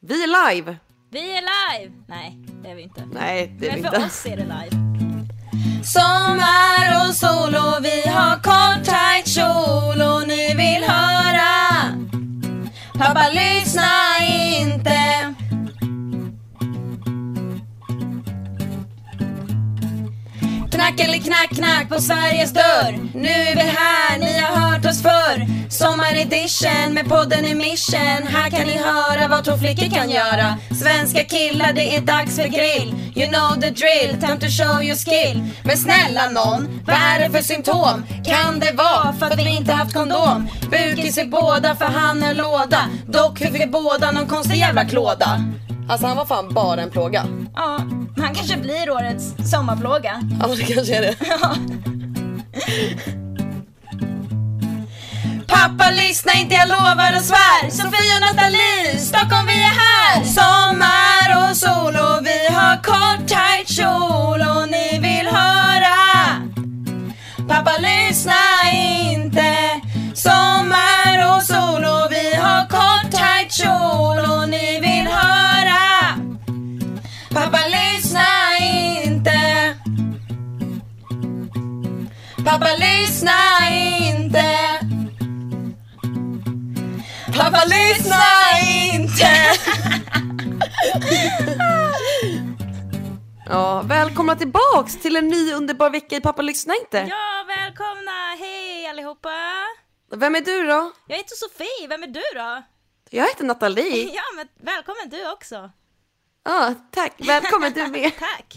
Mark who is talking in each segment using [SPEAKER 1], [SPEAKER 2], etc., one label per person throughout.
[SPEAKER 1] Vi är live!
[SPEAKER 2] Vi är live! Nej, det är vi inte.
[SPEAKER 1] Nej, det är vi
[SPEAKER 2] Men för
[SPEAKER 1] inte.
[SPEAKER 2] oss är det live. Sommar och sol och vi har kort tajt kjol och ni vill höra Pappa lyssna inte Knack eller knack knack på Sveriges dörr Nu är vi här, ni har hört oss förr Sommaredition med podden Emission Här kan ni höra vad två flickor kan göra Svenska killar, det är dags för grill You know the drill, time to show your skill Men snälla nån, vad är det för symptom? Kan det vara för att vi inte haft kondom? Bukis i båda för han är låda Dock hur vi båda någon konstig jävla klåda
[SPEAKER 1] Alltså han var fan bara en plåga.
[SPEAKER 2] Ja, han kanske blir årets sommarplåga
[SPEAKER 1] Ja, det Alltså, kanske är det.
[SPEAKER 2] Pappa lyssna inte jag lovar och svär Sofie och Nathalie, Stockholm vi är här Sommar och sol och vi har kort tajt kjol och ni vill höra Pappa lyssna inte Sommar och sol och vi har kort tajt kjol och ni vill höra Pappa lyssna inte Pappa lyssna inte Pappa lyssna inte
[SPEAKER 1] Ja, välkomna tillbaks till en ny underbar vecka i Pappa lyssna inte.
[SPEAKER 2] Ja, välkomna! Hej allihopa!
[SPEAKER 1] Vem är du då?
[SPEAKER 2] Jag heter Sofie, vem är du då?
[SPEAKER 1] Jag heter Nathalie.
[SPEAKER 2] Ja, men välkommen du också!
[SPEAKER 1] Ja, tack. Välkommen du med.
[SPEAKER 2] Tack!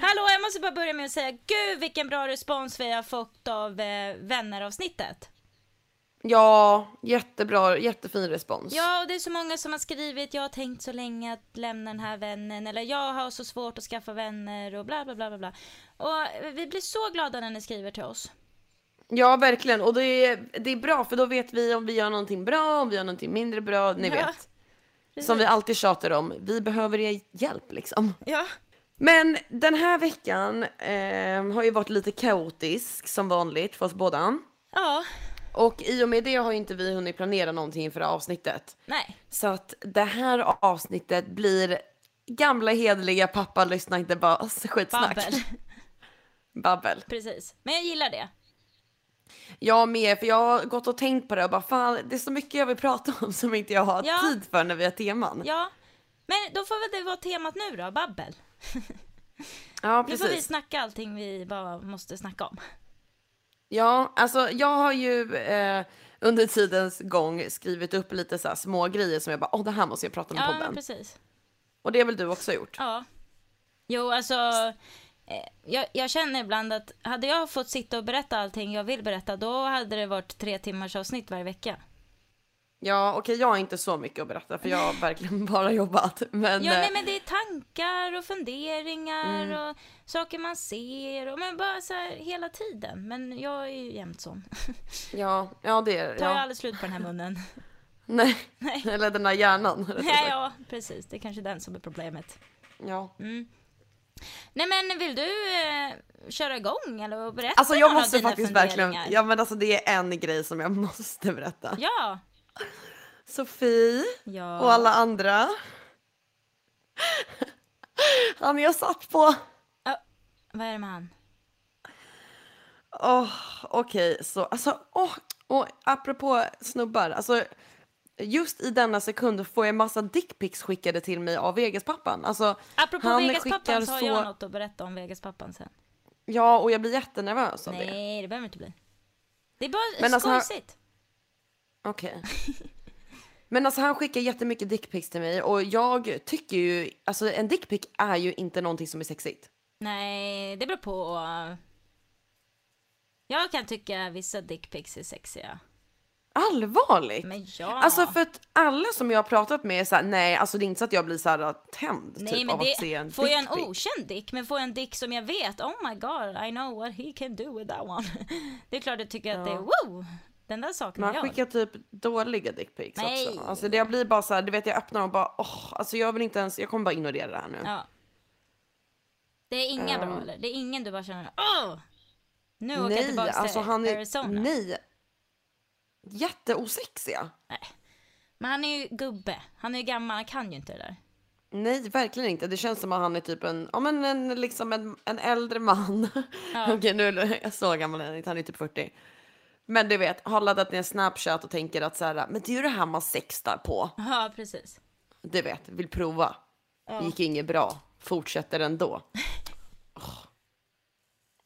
[SPEAKER 2] Hallå, jag måste bara börja med att säga gud vilken bra respons vi har fått av eh, vänneravsnittet.
[SPEAKER 1] Ja, jättebra, jättefin respons.
[SPEAKER 2] Ja, och det är så många som har skrivit jag har tänkt så länge att lämna den här vännen eller jag har så svårt att skaffa vänner och bla bla bla bla bla. Och eh, vi blir så glada när ni skriver till oss.
[SPEAKER 1] Ja, verkligen. Och det är, det är bra för då vet vi om vi gör någonting bra, om vi gör någonting mindre bra, ni
[SPEAKER 2] Ja,
[SPEAKER 1] vet. Som vi alltid tjatar om, vi behöver er hjälp liksom.
[SPEAKER 2] Ja.
[SPEAKER 1] Men den här veckan eh, har ju varit lite kaotisk som vanligt för oss båda.
[SPEAKER 2] Ja.
[SPEAKER 1] Och i och med det har ju inte vi hunnit planera någonting inför det här avsnittet.
[SPEAKER 2] Nej.
[SPEAKER 1] Så att det här avsnittet blir gamla hederliga pappa lyssna inte bara skitsnack.
[SPEAKER 2] Babbel.
[SPEAKER 1] Babbel.
[SPEAKER 2] Precis. Men jag gillar det.
[SPEAKER 1] Jag med, för jag har gått och tänkt på det och bara fan det är så mycket jag vill prata om som inte jag har
[SPEAKER 2] Ja.
[SPEAKER 1] tid för när vi har teman. Ja,
[SPEAKER 2] Ja. Men då får väl det vara temat nu då, babbel. Nu får vi
[SPEAKER 1] precis.
[SPEAKER 2] snacka allting vi bara måste snacka om.
[SPEAKER 1] Ja, alltså jag har ju eh, under tidens gång skrivit upp lite så här små grejer som jag bara åh det här måste jag prata om i
[SPEAKER 2] Ja, men
[SPEAKER 1] podden.
[SPEAKER 2] precis.
[SPEAKER 1] Och det har väl du också gjort?
[SPEAKER 2] Ja. Jo, alltså. eh, Jag, jag känner ibland att hade jag fått sitta och berätta allting jag vill berätta, då hade det varit tre timmars avsnitt varje vecka.
[SPEAKER 1] Ja, okej, jag har inte så mycket att berätta för jag har verkligen bara jobbat. Men,
[SPEAKER 2] Ja, nej,
[SPEAKER 1] eh,
[SPEAKER 2] men det är tankar och funderingar
[SPEAKER 1] Mm.
[SPEAKER 2] och saker man ser och men bara så här hela tiden. Men jag är ju jämt sån.
[SPEAKER 1] ja, ja, det är
[SPEAKER 2] Tar jag
[SPEAKER 1] ja.
[SPEAKER 2] aldrig slut på den här munnen.
[SPEAKER 1] Nej.
[SPEAKER 2] Nej.
[SPEAKER 1] eller den där hjärnan. rättare
[SPEAKER 2] Nej,
[SPEAKER 1] sagt.
[SPEAKER 2] ja, precis. Det är kanske den som är problemet.
[SPEAKER 1] ja.
[SPEAKER 2] Mm. Nej men vill du eh, köra igång eller och berätta
[SPEAKER 1] Alltså jag
[SPEAKER 2] några av
[SPEAKER 1] måste
[SPEAKER 2] dina
[SPEAKER 1] faktiskt verkligen,
[SPEAKER 2] funderingar?
[SPEAKER 1] ja men alltså det är en grej som jag måste berätta.
[SPEAKER 2] Ja.
[SPEAKER 1] Sofie
[SPEAKER 2] Ja.
[SPEAKER 1] och alla andra. Han jag satt på.
[SPEAKER 2] Ja, vad är det med han?
[SPEAKER 1] Åh, okej, så alltså, åh, och apropå snubbar, alltså just i denna sekund får jag massa dickpics skickade till mig av Vegas-pappan. Alltså,
[SPEAKER 2] Apropå
[SPEAKER 1] han skickar
[SPEAKER 2] Vegas-pappan så har jag något att berätta om Vegas-pappan sen.
[SPEAKER 1] Ja, och jag blir jättenervös av det.
[SPEAKER 2] Nej, det behöver inte bli. Det är bara
[SPEAKER 1] Men alltså, han-
[SPEAKER 2] skojsigt.
[SPEAKER 1] Okej. Men alltså han skickar jättemycket dickpics till mig och jag tycker ju, alltså en dickpic är ju inte någonting som är sexigt.
[SPEAKER 2] Nej, det beror på. Jag kan tycka vissa dickpics är sexiga.
[SPEAKER 1] Allvarligt!
[SPEAKER 2] Men ja.
[SPEAKER 1] Alltså för att alla som jag har pratat med är såhär, nej alltså det är inte så att jag blir såhär tänd
[SPEAKER 2] Nej
[SPEAKER 1] typ
[SPEAKER 2] men
[SPEAKER 1] av att se en
[SPEAKER 2] det, får jag en
[SPEAKER 1] dickpic.
[SPEAKER 2] okänd dick, men får jag en dick som jag vet, oh my god, I know what he can do with that one. Det är klart jag tycker att det är wow, den där saknar
[SPEAKER 1] Man
[SPEAKER 2] jag.
[SPEAKER 1] skickar typ dåliga dickpics
[SPEAKER 2] Nej.
[SPEAKER 1] också. Alltså det jag blir bara såhär, du vet jag öppnar och bara åh, alltså jag vill inte ens, jag kommer bara ignorera det här nu.
[SPEAKER 2] Ja. Det är inga bra eller? Det är ingen du bara känner, åh! Nu åker jag
[SPEAKER 1] Eh. nej,
[SPEAKER 2] tillbaka till
[SPEAKER 1] alltså han är,
[SPEAKER 2] Arizona.
[SPEAKER 1] nej. Jätteosexiga.
[SPEAKER 2] Nej. Men han är ju gubbe. Han är ju gammal, han kan ju inte det där.
[SPEAKER 1] Nej, verkligen inte. Det känns som att han är typ en, ja men en, liksom en, en äldre man.
[SPEAKER 2] Ja.
[SPEAKER 1] Okej, nu så gammal är han inte, han är typ 40. Men du vet, har laddat ner Snapchat och tänker att så här, men det är ju det här man sextar på.
[SPEAKER 2] Ja, precis.
[SPEAKER 1] Du vet, vill prova. Gick inget bra, fortsätter ändå. Åh.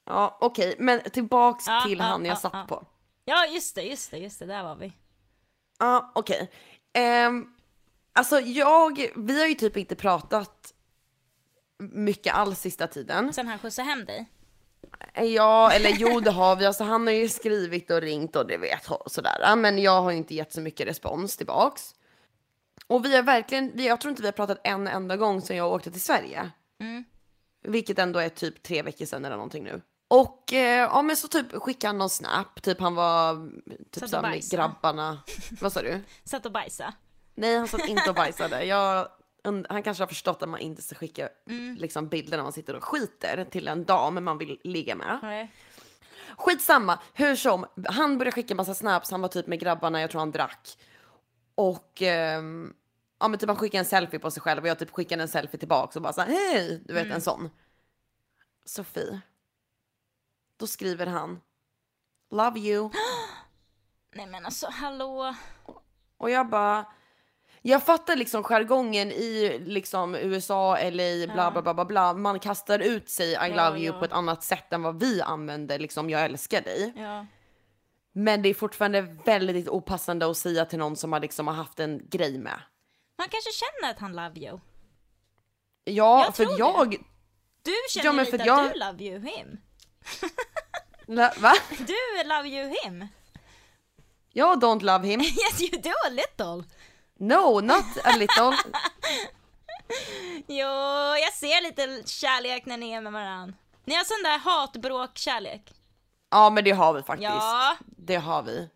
[SPEAKER 1] Ja, okej, men tillbaks
[SPEAKER 2] Ja,
[SPEAKER 1] till
[SPEAKER 2] ja,
[SPEAKER 1] han jag
[SPEAKER 2] ja,
[SPEAKER 1] satt
[SPEAKER 2] ja.
[SPEAKER 1] på.
[SPEAKER 2] Ja, just det, just det, just det, där var vi.
[SPEAKER 1] Ja, okej. Ehm, alltså jag, vi har ju typ inte pratat mycket alls sista tiden.
[SPEAKER 2] Sen han skjutsade hem dig.
[SPEAKER 1] Ja, eller jo det har vi. Alltså han har ju skrivit och ringt och det vet och sådär. Men jag har ju inte gett så mycket respons tillbaks. Och vi har verkligen, vi- jag tror inte vi har pratat en enda gång sedan jag åkte till Sverige.
[SPEAKER 2] Mm.
[SPEAKER 1] Vilket ändå är typ tre veckor sedan eller någonting nu. Och eh, ja men så typ skickade han någon snap, typ han var
[SPEAKER 2] Satt
[SPEAKER 1] typ
[SPEAKER 2] och
[SPEAKER 1] såhär med
[SPEAKER 2] bajsade.
[SPEAKER 1] grabbarna. Vad sa du?
[SPEAKER 2] Satt och bajsade.
[SPEAKER 1] Nej, han satt inte och bajsade. Jag, und- han kanske har förstått att man inte ska skicka liksom, bilder när man sitter och skiter till en dam man vill ligga med.
[SPEAKER 2] Nej.
[SPEAKER 1] Skitsamma, hur som. Han började skicka massa snaps, han var typ med grabbarna, jag tror han drack. Och ehm, ja, men typ han skickade en selfie på sig själv och jag typ skickade en selfie tillbaka och bara så här, hej, du vet
[SPEAKER 2] Mm.
[SPEAKER 1] en sån. Sofie. Då skriver han. Love you.
[SPEAKER 2] Nej men alltså hallå.
[SPEAKER 1] Och jag bara, jag fattar liksom jargongen i liksom USA, LA, bla bla bla bla bla. Man kastar ut sig I love you
[SPEAKER 2] ja.
[SPEAKER 1] på ett annat sätt än vad vi använder liksom jag älskar dig.
[SPEAKER 2] Ja.
[SPEAKER 1] Men det är fortfarande väldigt opassande att säga till någon som har liksom har haft en grej med.
[SPEAKER 2] Man kanske känner att han love you.
[SPEAKER 1] Ja,
[SPEAKER 2] Jag
[SPEAKER 1] för
[SPEAKER 2] tror
[SPEAKER 1] jag...
[SPEAKER 2] Du känner
[SPEAKER 1] Ja, men
[SPEAKER 2] lite
[SPEAKER 1] för
[SPEAKER 2] att
[SPEAKER 1] jag-
[SPEAKER 2] du love you him.
[SPEAKER 1] Nä, Va?
[SPEAKER 2] Du love you him.
[SPEAKER 1] Jag don't love him.
[SPEAKER 2] Yes you do a little.
[SPEAKER 1] No, not a little.
[SPEAKER 2] Jo, jag ser lite kärlek när ni är med varann. Ni har sån där hatbråk-kärlek.
[SPEAKER 1] Ja, men det har vi faktiskt.
[SPEAKER 2] Ja.
[SPEAKER 1] Det har vi.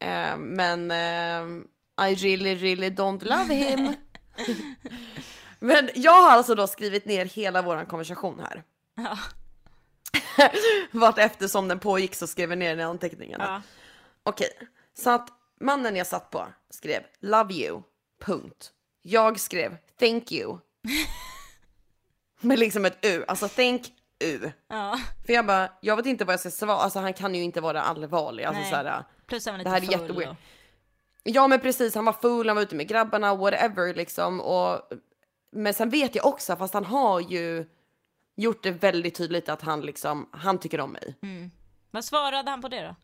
[SPEAKER 1] Eh, men ehm, I really, really don't love him. men jag har alltså då skrivit ner hela vår konversation här.
[SPEAKER 2] Ja.
[SPEAKER 1] Vart eftersom den pågick så skrev jag ner den i anteckningarna.
[SPEAKER 2] Ja.
[SPEAKER 1] Okej, så att mannen jag satt på skrev love you, punkt. Jag skrev thank you. Med liksom ett u, alltså thank u.
[SPEAKER 2] ja.
[SPEAKER 1] För jag bara, jag vet inte vad jag ska svara, alltså han kan ju inte vara allvarlig. Alltså,
[SPEAKER 2] Nej.
[SPEAKER 1] så här,
[SPEAKER 2] Plus han var
[SPEAKER 1] det
[SPEAKER 2] lite
[SPEAKER 1] här är
[SPEAKER 2] full.
[SPEAKER 1] jätteweird.
[SPEAKER 2] och-
[SPEAKER 1] Ja men precis, han var full, han var ute med grabbarna, whatever liksom. Och, men sen vet jag också, fast han har ju gjort det väldigt tydligt att han liksom, han tycker om mig.
[SPEAKER 2] Mm. Vad svarade han på det då?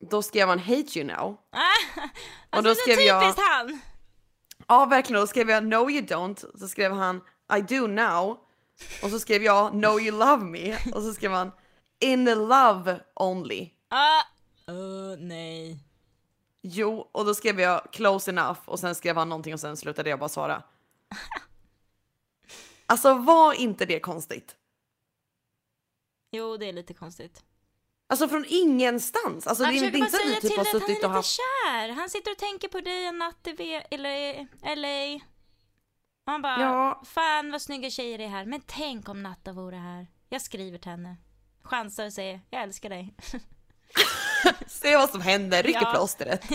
[SPEAKER 1] Då skrev han hate you now.
[SPEAKER 2] Ah,
[SPEAKER 1] Och
[SPEAKER 2] alltså,
[SPEAKER 1] då
[SPEAKER 2] så
[SPEAKER 1] skrev jag-
[SPEAKER 2] typiskt han!
[SPEAKER 1] Ja verkligen, då skrev jag no you don't. Så skrev han I do now. Och så skrev jag no you love me. Och så skrev han in love only.
[SPEAKER 2] Ah, uh, nej.
[SPEAKER 1] Jo, och då skrev jag close enough och sen skrev han någonting och sen slutade jag bara svara. Alltså var inte det konstigt?
[SPEAKER 2] Jo, det är lite konstigt.
[SPEAKER 1] Alltså från ingenstans. Alltså
[SPEAKER 2] Han
[SPEAKER 1] det, är- det
[SPEAKER 2] försöker
[SPEAKER 1] är
[SPEAKER 2] bara
[SPEAKER 1] inte så att
[SPEAKER 2] säga
[SPEAKER 1] vi typ
[SPEAKER 2] till
[SPEAKER 1] har
[SPEAKER 2] att han är
[SPEAKER 1] suttit
[SPEAKER 2] lite
[SPEAKER 1] och haft...
[SPEAKER 2] kär. Han sitter och tänker på dig en natt i v- eller LA. Och han bara,
[SPEAKER 1] Ja.
[SPEAKER 2] fan vad snygga tjejer det är här. Men tänk om Natta vore här. Jag skriver till henne. Chansar och säger, jag älskar dig.
[SPEAKER 1] Se vad som händer, rycker
[SPEAKER 2] Ja.
[SPEAKER 1] plåstret.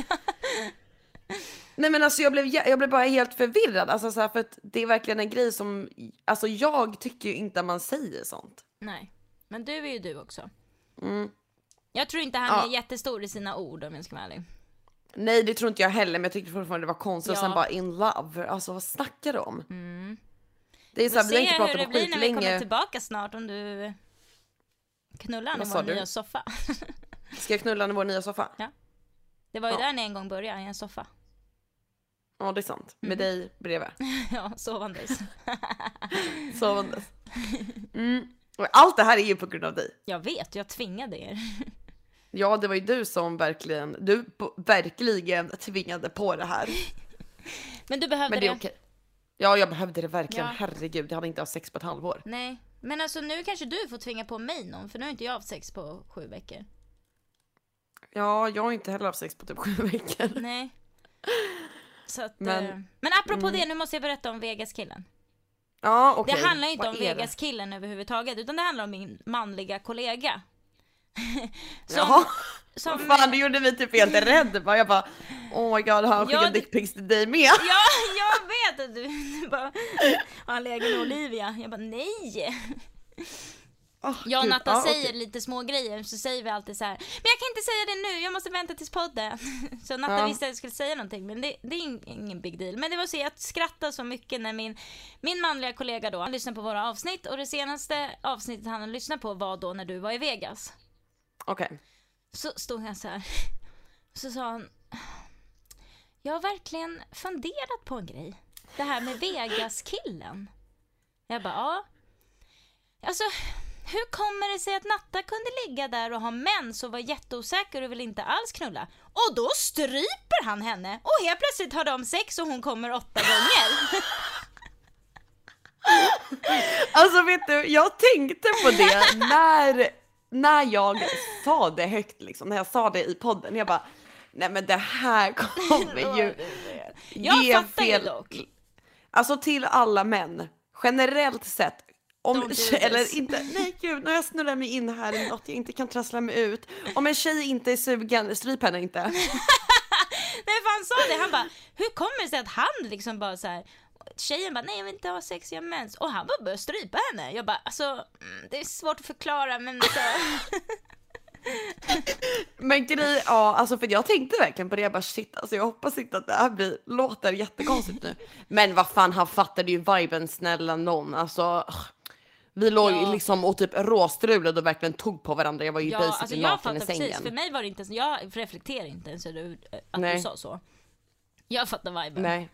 [SPEAKER 1] Nej men alltså jag blev, jä- jag blev bara helt förvirrad. Alltså så här, för att det är verkligen en grej som, alltså jag tycker ju inte att man säger sånt.
[SPEAKER 2] Nej, men du är ju du också. Jag tror inte han
[SPEAKER 1] Mm. Ja.
[SPEAKER 2] är jättestor i sina ord om jag ska vara ärlig.
[SPEAKER 1] Nej det tror inte jag heller men jag tyckte fortfarande det var konstigt. Och
[SPEAKER 2] Ja. Mm.
[SPEAKER 1] sen bara in love, alltså vad snackar de om? Det är så här, vi har inte
[SPEAKER 2] se hur
[SPEAKER 1] pratat
[SPEAKER 2] det
[SPEAKER 1] på
[SPEAKER 2] blir när vi
[SPEAKER 1] skitlänge.
[SPEAKER 2] kommer tillbaka snart om du knullar han i
[SPEAKER 1] Vad sa
[SPEAKER 2] vår
[SPEAKER 1] du?
[SPEAKER 2] nya soffa.
[SPEAKER 1] Ska jag knulla i vår nya soffa?
[SPEAKER 2] det var ju
[SPEAKER 1] Ja.
[SPEAKER 2] där ni en gång började, i en soffa.
[SPEAKER 1] Ja, det är sant.
[SPEAKER 2] Mm.
[SPEAKER 1] Med dig bredvid.
[SPEAKER 2] ja, sovandes.
[SPEAKER 1] Sovandes. Mm. Och allt det här är ju på grund av dig.
[SPEAKER 2] Jag vet, jag tvingade er.
[SPEAKER 1] Ja, det var ju du som verkligen, du bo- verkligen tvingade på det här.
[SPEAKER 2] Men du behövde
[SPEAKER 1] Men det är okej. Ja, jag behövde det verkligen.
[SPEAKER 2] Ja.
[SPEAKER 1] Herregud, jag hade inte haft sex på ett halvår.
[SPEAKER 2] Nej, men alltså nu kanske du får tvinga på mig någon för nu har inte jag haft sex på sju veckor.
[SPEAKER 1] Ja, jag har inte heller haft sex på typ sju veckor.
[SPEAKER 2] Nej. Så att,
[SPEAKER 1] Men-
[SPEAKER 2] men, men apropå det, nu måste jag berätta om Vegas-killen.
[SPEAKER 1] Ja, okej.
[SPEAKER 2] Det handlar ju inte
[SPEAKER 1] Vad
[SPEAKER 2] om
[SPEAKER 1] är det?
[SPEAKER 2] Vegas-killen överhuvudtaget, utan det handlar om min manliga kollega. Som,
[SPEAKER 1] Jaha,
[SPEAKER 2] som,
[SPEAKER 1] fan det gjorde mig typ helt rädd. bara. Jag bara oh my god har han
[SPEAKER 2] Ja,
[SPEAKER 1] skickat
[SPEAKER 2] det-
[SPEAKER 1] dickpics till dig med?
[SPEAKER 2] Ja, jag vet att du du bara, har han legat med Olivia? Jag bara, nej!
[SPEAKER 1] Oh,
[SPEAKER 2] Jag och
[SPEAKER 1] gud,
[SPEAKER 2] Natta
[SPEAKER 1] ja, okej.
[SPEAKER 2] säger lite små grejer så säger vi alltid så här. men jag kan inte säga det nu, jag måste vänta tills podden. Så Natta
[SPEAKER 1] Ja.
[SPEAKER 2] visste att jag skulle säga någonting, men det, det är ing- ingen big deal. Men det var så, jag skrattade så mycket när min, min manliga kollega då, han lyssnade på våra avsnitt och det senaste avsnittet han lyssnade på var då när du var i Vegas.
[SPEAKER 1] Okej.
[SPEAKER 2] Så stod han så här. Så sa han. Jag har verkligen funderat på en grej. Det här med Vegas-killen. Jag bara, ja. Alltså, hur kommer det sig att Natta kunde ligga där och ha mens och vara jätteosäker och vill inte alls knulla? Och då stryper han henne och helt plötsligt har de sex och hon kommer åtta gånger.
[SPEAKER 1] Alltså vet du, jag tänkte på det när, när jag sa det högt liksom, när jag sa det i podden. Jag bara, nej men det här kommer ju
[SPEAKER 2] Jag
[SPEAKER 1] ge
[SPEAKER 2] fattar ju
[SPEAKER 1] fel.
[SPEAKER 2] dock.
[SPEAKER 1] Alltså till alla män, generellt sett.
[SPEAKER 2] Don't
[SPEAKER 1] Om,
[SPEAKER 2] do
[SPEAKER 1] tje-
[SPEAKER 2] this.
[SPEAKER 1] eller inte, nej gud, när jag snurrar mig in här i något jag inte kan trassla mig ut. Om en tjej inte är sugen, stryp henne inte.
[SPEAKER 2] Nej för han sa det, han bara hur kommer det sig att han liksom bara så här. Tjejen bara nej jag vill inte ha sex, jag har mens. Och han bara började strypa henne. Jag bara alltså mm, det är svårt att förklara men alltså" så,
[SPEAKER 1] Men grej, ja alltså för jag tänkte verkligen på det, jag bara shit alltså jag hoppas inte att det här blir, låter jättekonstigt nu. Men vad fan han fattade ju viben snälla någon, alltså. ugh. Vi låg ju
[SPEAKER 2] Ja.
[SPEAKER 1] liksom och typ råstrulade och verkligen tog på varandra, jag var ju
[SPEAKER 2] ja,
[SPEAKER 1] basically
[SPEAKER 2] alltså, jag
[SPEAKER 1] naken i
[SPEAKER 2] fattar precis, för
[SPEAKER 1] sängen.
[SPEAKER 2] mig var det inte ens, jag reflekterar inte ens hur du- att du
[SPEAKER 1] Nej.
[SPEAKER 2] sa så. Jag fattar viben.
[SPEAKER 1] Nej.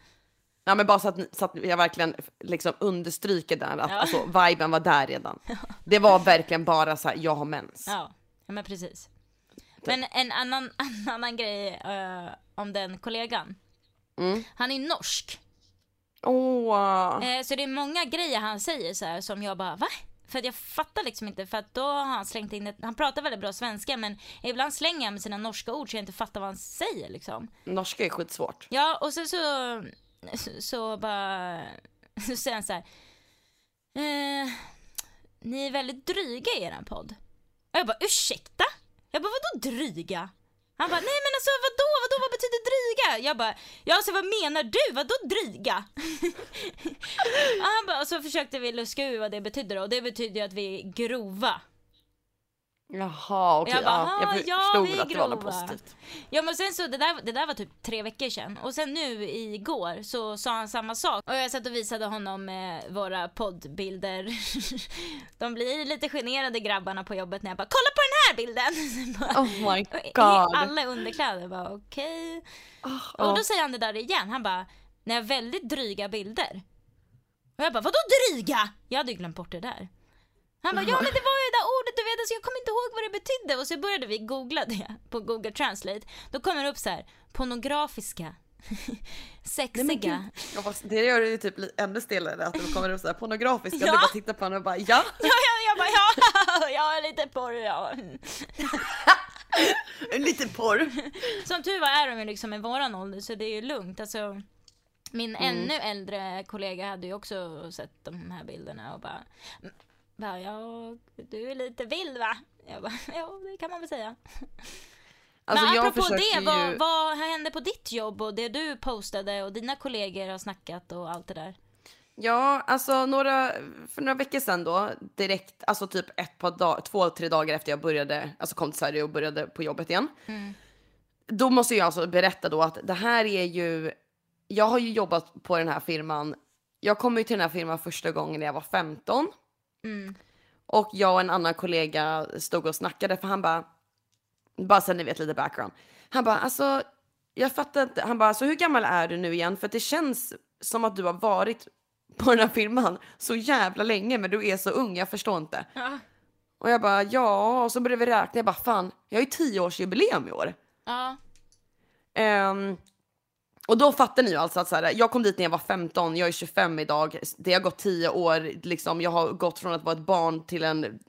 [SPEAKER 1] Ja men bara så att, ni- så att jag verkligen liksom understryker där att
[SPEAKER 2] Ja.
[SPEAKER 1] alltså, viben var där redan. Det var verkligen bara så här, jag har mens.
[SPEAKER 2] Ja, ja men precis. Men en annan, en annan grej eh, om den kollegan.
[SPEAKER 1] Mm.
[SPEAKER 2] Han är norsk.
[SPEAKER 1] Åh,
[SPEAKER 2] Eh, så det är många grejer han säger så här som jag bara va? För att jag fattar liksom inte för att då har han slängt in ett, han pratar väldigt bra svenska men ibland slänger han med sina norska ord så jag inte fattar vad han säger liksom.
[SPEAKER 1] norska är skitsvårt.
[SPEAKER 2] Ja och sen så, så, så bara, så säger han så här. Eh, ni är väldigt dryga i eran podd. Och jag bara ursäkta? Jag bara vadå dryga? Han bara nej men alltså vadå, vadå, vad betyder dryga? Jag bara ja alltså vad menar du, vadå dryga? och, han bara, och så försökte vi luska ur vad det betyder och det betyder ju att vi är grova.
[SPEAKER 1] Jaha okej,
[SPEAKER 2] Jag bara,
[SPEAKER 1] ja, jag
[SPEAKER 2] "Ah, ja,
[SPEAKER 1] förstod
[SPEAKER 2] vi är
[SPEAKER 1] att det var något
[SPEAKER 2] grova."
[SPEAKER 1] positivt.
[SPEAKER 2] Ja men sen så, det där, det där var typ tre veckor sedan. Och sen nu igår så sa han samma sak. Och jag satt och visade honom eh, våra poddbilder. De blir lite generade grabbarna på jobbet när jag bara “kolla på den här bilden!” Bara-
[SPEAKER 1] Oh my
[SPEAKER 2] Och i-
[SPEAKER 1] god.
[SPEAKER 2] Alla i underkläder bara okej.
[SPEAKER 1] Ja.
[SPEAKER 2] Ah, Och då säger han det där igen. Han bara “ni har väldigt dryga bilder”. Och jag bara “vadå dryga?” Jag hade ju glömt bort det där. Han bara “ja men det var ju det där ordet du vet, alltså, jag kommer inte ihåg vad det betydde” och så började vi googla det på google translate. Då kommer det upp så här “pornografiska”, “sexiga”.
[SPEAKER 1] Jag bara, det gör det ju typ li- ännu stelare att det kommer upp såhär pornografiska och
[SPEAKER 2] Ja.
[SPEAKER 1] du bara tittar på honom och bara ja.
[SPEAKER 2] Ja, ja, jag bara “ja, jag är lite porr ja.
[SPEAKER 1] Lite porr.
[SPEAKER 2] Som tur var är de ju liksom i våran ålder så det är ju lugnt. Alltså, min ännu äldre kollega hade ju också sett de här bilderna och bara, bara ja, du är lite vild va? Jag bara, ja det kan man väl säga.
[SPEAKER 1] Alltså
[SPEAKER 2] Men
[SPEAKER 1] jag
[SPEAKER 2] apropå
[SPEAKER 1] försöker
[SPEAKER 2] det, vad,
[SPEAKER 1] ju.
[SPEAKER 2] vad hände på ditt jobb och det du postade och dina kollegor har snackat och allt det där?
[SPEAKER 1] Ja, alltså några, för några veckor sedan då direkt, alltså typ ett par dagar, två, tre dagar efter jag började, alltså kom till Sverige och började på jobbet igen. Då måste jag alltså berätta då att det här är ju, jag har ju jobbat på den här firman, jag kom ju till den här firman första gången när jag var 15.
[SPEAKER 2] Mm.
[SPEAKER 1] Och jag och en annan kollega stod och snackade för han bara, bara så ni vet lite background. Han bara, alltså jag fattar inte. Han bara, alltså hur gammal är du nu igen? För att det känns som att du har varit på den här filmen så jävla länge men du är så ung, jag förstår inte.
[SPEAKER 2] Ja.
[SPEAKER 1] Och jag bara, ja, och så började vi räkna. Jag bara, fan, jag har ju tioårsjubileum i år.
[SPEAKER 2] Ja.
[SPEAKER 1] Ehm, och då fattar ni ju alltså att så här, jag kom dit när jag var 15, jag är 25 idag, det har gått 10 år, liksom, jag har gått från att vara ett barn till en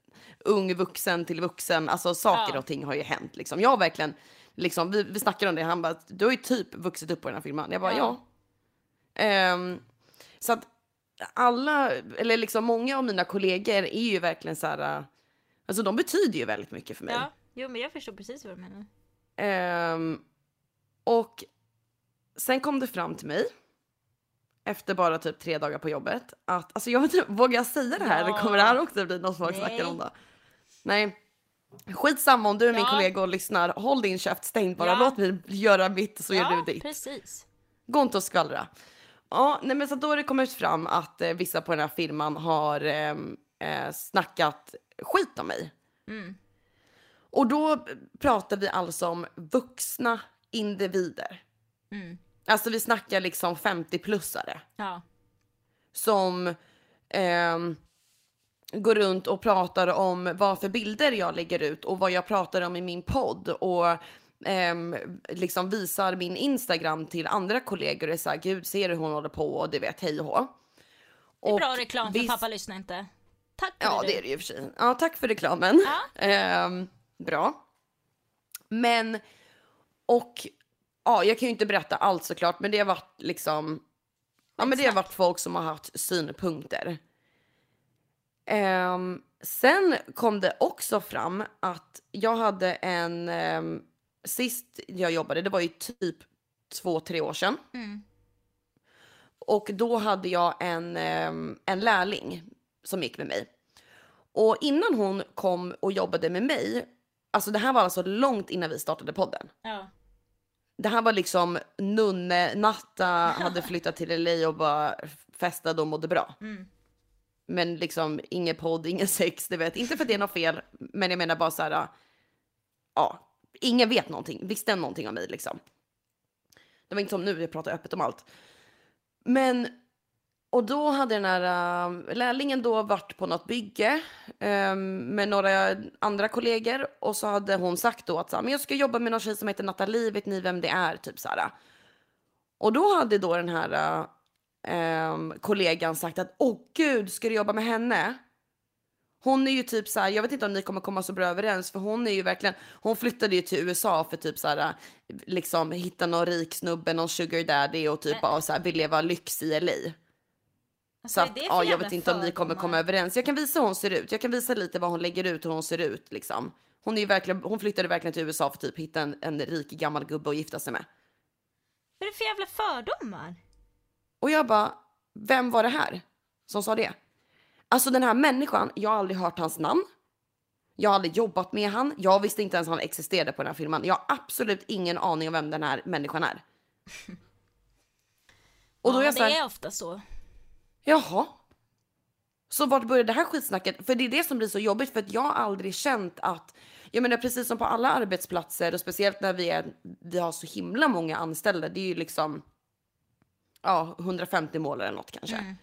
[SPEAKER 1] ung vuxen till vuxen, alltså saker
[SPEAKER 2] Ja.
[SPEAKER 1] och ting har ju hänt liksom. Jag har verkligen, liksom, vi, vi snackade om det, han bara, du har ju typ vuxit upp på den här filmen. Jag bara,
[SPEAKER 2] Ja.
[SPEAKER 1] ja. Ehm, så att alla, eller liksom många av mina kollegor är ju verkligen så här, alltså de betyder ju väldigt mycket för mig.
[SPEAKER 2] ja. Jo men jag förstår precis vad du menar.
[SPEAKER 1] Ehm, och sen kom det fram till mig efter bara typ tre dagar på jobbet att alltså jag vet inte, vågar jag säga det här eller kommer det här också bli något folk snackar om då? Nej, skitsamma om du är min
[SPEAKER 2] Ja.
[SPEAKER 1] kollega och lyssnar. Håll din käft stängd bara.
[SPEAKER 2] Ja.
[SPEAKER 1] Låt mig göra mitt så gör
[SPEAKER 2] ja,
[SPEAKER 1] du ditt.
[SPEAKER 2] precis.
[SPEAKER 1] Gå inte och skvallra. Ja, nej men så då har det kommit fram att eh, vissa på den här firman har eh, eh, snackat skit om mig.
[SPEAKER 2] Mm.
[SPEAKER 1] Och då pratar vi alltså om vuxna individer.
[SPEAKER 2] Mm.
[SPEAKER 1] Alltså vi snackar liksom 50-plussare
[SPEAKER 2] Ja.
[SPEAKER 1] som ehm, går runt och pratar om vad för bilder jag lägger ut och vad jag pratar om i min podd och ehm, liksom visar min Instagram till andra kollegor och är så här, gud ser du hur hon håller på och du vet hej och hå.
[SPEAKER 2] Det är
[SPEAKER 1] Och
[SPEAKER 2] bra reklam för
[SPEAKER 1] visst-
[SPEAKER 2] pappa lyssnar inte. Tack för
[SPEAKER 1] Ja,
[SPEAKER 2] det.
[SPEAKER 1] det är det ju i och för sig. Ja, tack för reklamen.
[SPEAKER 2] Ja.
[SPEAKER 1] Ehm, bra. Men, och ja, jag kan ju inte berätta allt såklart, men det har varit liksom. Ja, men det har varit folk som har haft synpunkter. Ehm, sen kom det också fram att jag hade en ehm, sist jag jobbade. Det var ju typ två, tre år sedan.
[SPEAKER 2] Mm.
[SPEAKER 1] Och då hade jag en, ehm, en lärling som gick med mig. Och innan hon kom och jobbade med mig, alltså det här var alltså långt innan vi startade podden.
[SPEAKER 2] Ja.
[SPEAKER 1] Det här var liksom nunne, natta, hade flyttat till LA och bara festade och mådde bra.
[SPEAKER 2] Mm.
[SPEAKER 1] Men liksom ingen podd, ingen sex, du vet. Inte för att det är något fel, men jag menar bara så här, ja, ingen vet någonting, visste någonting om mig liksom. Det var inte som nu, jag pratar öppet om allt. Men, och då hade den här äh, lärlingen då varit på något bygge ehm, med några andra kollegor och så hade hon sagt då att så här, men jag ska jobba med någon tjej som heter Nathalie, vet ni vem det är? Typ så här. Och då hade då den här äh, ehm, kollegan sagt att åh gud, ska du jobba med henne? Hon är ju typ så här, jag vet inte om ni kommer komma så bra överens för hon är ju verkligen, hon flyttade ju till USA för typ så här, liksom hitta någon rik snubbe, någon sugar daddy och typ bara så här vill leva lyx i LA. Så
[SPEAKER 2] Alltså,
[SPEAKER 1] att,
[SPEAKER 2] vad är det för
[SPEAKER 1] ja, jag
[SPEAKER 2] jävla
[SPEAKER 1] vet inte om ni kommer
[SPEAKER 2] fördomar?
[SPEAKER 1] komma överens. Jag kan visa hur hon ser ut. Jag kan visa lite vad hon lägger ut, hur hon ser ut liksom. Hon, är ju verkligen, hon flyttade verkligen till USA för typ hitta en, en rik gammal gubbe att gifta sig med.
[SPEAKER 2] Vad är det för jävla fördomar?
[SPEAKER 1] Och jag bara, vem var det här som sa det? Alltså den här människan, jag har aldrig hört hans namn. Jag har aldrig jobbat med han. Jag visste inte ens han existerade på den här filmen. Jag har absolut ingen aning om vem den här människan är. Och då
[SPEAKER 2] ja,
[SPEAKER 1] är jag så här,
[SPEAKER 2] det är ofta så.
[SPEAKER 1] Jaha. Så vart började det här skitsnacket? För det är det som blir så jobbigt för att jag har aldrig känt att, jag menar precis som på alla arbetsplatser och speciellt när vi, är, vi har så himla många anställda, det är ju liksom ja, 150 mål eller något kanske.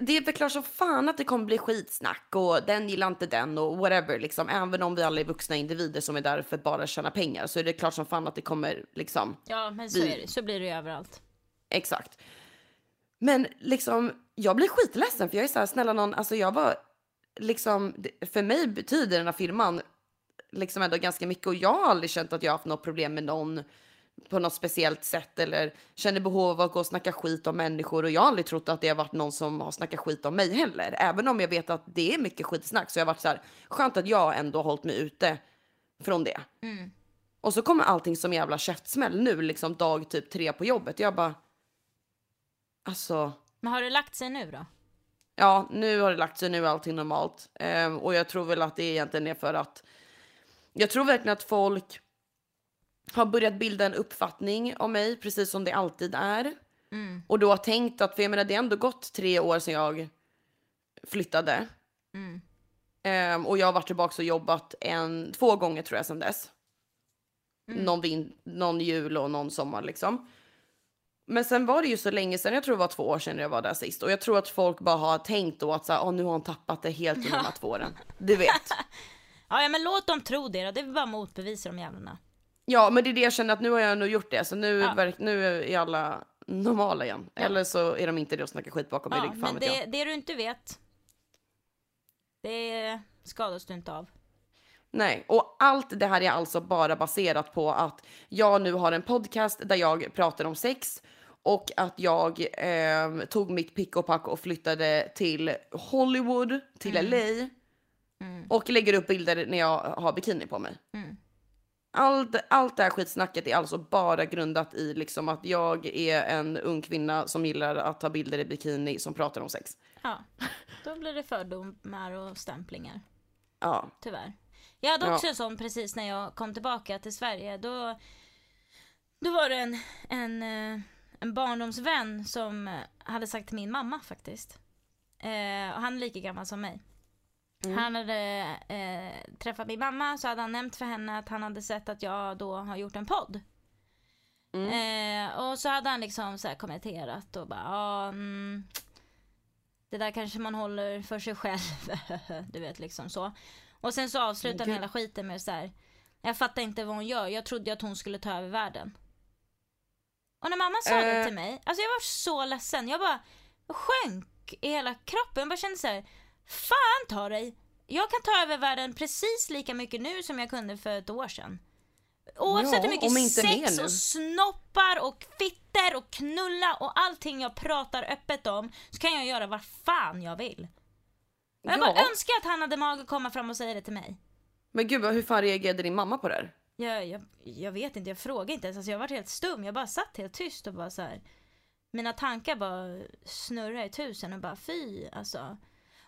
[SPEAKER 1] Det är väl klart som fan att det kommer bli skitsnack och den gillar inte den och whatever liksom. Även om vi alla är vuxna individer som är där för att bara tjäna pengar så är det klart som fan att det kommer liksom
[SPEAKER 2] Ja men så,
[SPEAKER 1] Vi-
[SPEAKER 2] är det. så blir det ju överallt.
[SPEAKER 1] Exakt. Men liksom, jag blir skitledsen för jag är så här, snälla någon, alltså jag var liksom, det- för mig betyder den här firman liksom ändå ganska mycket och jag har aldrig känt att jag har haft något problem med någon på något speciellt sätt eller känner behov av att gå och snacka skit om människor och jag har aldrig trott att det har varit någon som har snackat skit om mig heller. Även om jag vet att det är mycket skitsnack så jag har varit så här, skönt att jag ändå har hållit mig ute från det.
[SPEAKER 2] Mm.
[SPEAKER 1] Och så kommer allting som jävla käftsmäll nu, liksom dag typ tre på jobbet. Jag bara. Alltså,
[SPEAKER 2] Men har det lagt sig nu då?
[SPEAKER 1] ja, nu har det lagt sig, nu är allting normalt. Ehm, och jag tror väl att det egentligen är för att jag tror verkligen att folk har börjat bilda en uppfattning om mig, precis som det alltid är.
[SPEAKER 2] Mm.
[SPEAKER 1] Och då har tänkt att, för jag menar det har ändå gått tre år sedan jag flyttade.
[SPEAKER 2] Mm.
[SPEAKER 1] Ehm, och jag har varit tillbaka och jobbat en, två gånger tror jag sedan dess.
[SPEAKER 2] Mm.
[SPEAKER 1] Någon, vin, någon jul och någon sommar liksom. Men sen var det ju så länge sedan, jag tror det var två år sedan jag var där sist. Och jag tror att folk bara har tänkt då att så här, "Åh, nu har hon tappat det helt under de här två åren. Du vet.
[SPEAKER 2] Ja, ja men låt dem tro det då. Det är väl bara motbevisa de jävlarna.
[SPEAKER 1] Ja men det är det jag känner att nu har jag nog gjort det. Så nu,
[SPEAKER 2] Ja.
[SPEAKER 1] verk, nu är alla normala igen. Eller så är de inte det och snackar skit bakom min
[SPEAKER 2] Ja,
[SPEAKER 1] rygg. Fan
[SPEAKER 2] men
[SPEAKER 1] vet jag.
[SPEAKER 2] det, det du inte vet, det skadas du inte av.
[SPEAKER 1] Nej, och allt det här är alltså bara baserat på att jag nu har en podcast där jag pratar om sex och att jag ehm, tog mitt pick och pack och flyttade till Hollywood, till LA.
[SPEAKER 2] Mm.
[SPEAKER 1] Och lägger upp bilder när jag har bikini på mig.
[SPEAKER 2] Mm.
[SPEAKER 1] Allt, allt det här skitsnacket är alltså bara grundat i liksom att jag är en ung kvinna som gillar att ta bilder i bikini som pratar om sex.
[SPEAKER 2] Ja, då blir det fördomar och stämplingar.
[SPEAKER 1] Ja,
[SPEAKER 2] Tyvärr. Jag hade också
[SPEAKER 1] Ja.
[SPEAKER 2] en sån precis när jag kom tillbaka till Sverige. Då, då var det en, en, eh, en barndomsvän som eh, hade sagt till min mamma faktiskt. Eh, och han är lika gammal som mig. Han hade eh, träffat min mamma så hade han nämnt för henne att han hade sett att jag då har gjort en podd. Eh, och så hade han liksom så här kommenterat och bara ah, mm, det där kanske man håller för sig själv. du vet liksom så. Och sen så avslutar han
[SPEAKER 1] Okej.
[SPEAKER 2] hela skiten med så här. Jag fattar inte vad hon gör. Jag trodde ju att hon skulle ta över världen. Och när mamma sa det
[SPEAKER 1] Eh.
[SPEAKER 2] till mig, alltså jag var så ledsen. Jag bara sjönk i hela kroppen. Jag bara kände så här. Fan ta dig! Jag kan ta över världen precis lika mycket nu som jag kunde för ett år sedan. Oavsett
[SPEAKER 1] Ja,
[SPEAKER 2] hur mycket
[SPEAKER 1] om inte mer
[SPEAKER 2] sex
[SPEAKER 1] nu.
[SPEAKER 2] och snoppar och fitter och knulla och allting jag pratar öppet om så kan jag göra vad fan jag vill. Och Jag
[SPEAKER 1] Ja.
[SPEAKER 2] bara önskar att han hade mag att komma fram och säga det till mig.
[SPEAKER 1] Men gud, vad- hur fan reagerade din mamma på det här?
[SPEAKER 2] Jag, jag, jag vet inte, jag frågade inte ens. Alltså jag var helt stum. Jag bara satt helt tyst och bara så här. Mina tankar bara snurrade i tusen och bara fy alltså.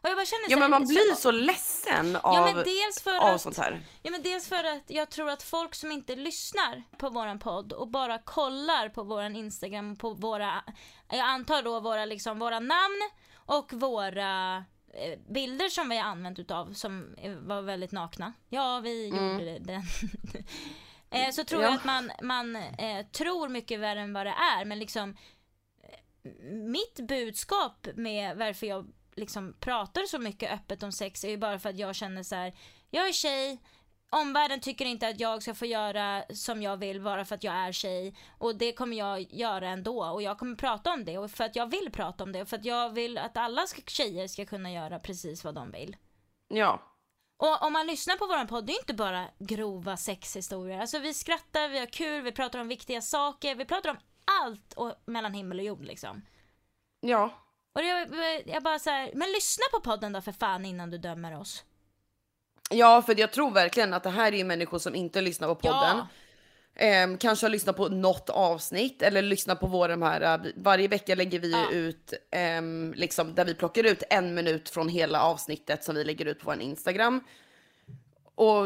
[SPEAKER 2] Och jag bara känner
[SPEAKER 1] Ja,
[SPEAKER 2] så här-
[SPEAKER 1] men man blir så ledsen av,
[SPEAKER 2] Ja men dels för
[SPEAKER 1] av
[SPEAKER 2] att
[SPEAKER 1] sånt här.
[SPEAKER 2] Ja, men dels för att jag tror att folk som inte lyssnar på våran podd och bara kollar på våran Instagram och på våra, jag antar då våra, liksom, våra namn och våra eh, bilder som vi har använt utav som eh, var väldigt nakna. Ja, vi gjorde den. eh, så tror jag
[SPEAKER 1] Ja.
[SPEAKER 2] att man, man eh, tror mycket värre än vad det är men liksom eh, mitt budskap med varför jag liksom pratar så mycket öppet om sex är ju bara för att jag känner så här. jag är tjej, omvärlden tycker inte att jag ska få göra som jag vill bara för att jag är tjej och det kommer jag göra ändå och jag kommer prata om det och för att jag vill prata om det och för att jag vill att alla ska, tjejer ska kunna göra precis vad de vill.
[SPEAKER 1] Ja.
[SPEAKER 2] Och om man lyssnar på våran podd, det är inte bara grova sexhistorier. Alltså vi skrattar, vi har kul, vi pratar om viktiga saker, vi pratar om allt och, mellan himmel och jord liksom.
[SPEAKER 1] Ja.
[SPEAKER 2] Och jag, jag bara så här, men lyssna på podden då för fan innan du dömer oss.
[SPEAKER 1] Ja, för jag tror verkligen att det här är ju människor som inte lyssnar på podden. Ehm, kanske har lyssnat på något avsnitt eller lyssnat på våra de här. eh, Varje vecka lägger vi ju
[SPEAKER 2] Ja.
[SPEAKER 1] ut ehm, liksom där vi plockar ut en minut från hela avsnittet som vi lägger ut på vår Instagram. Och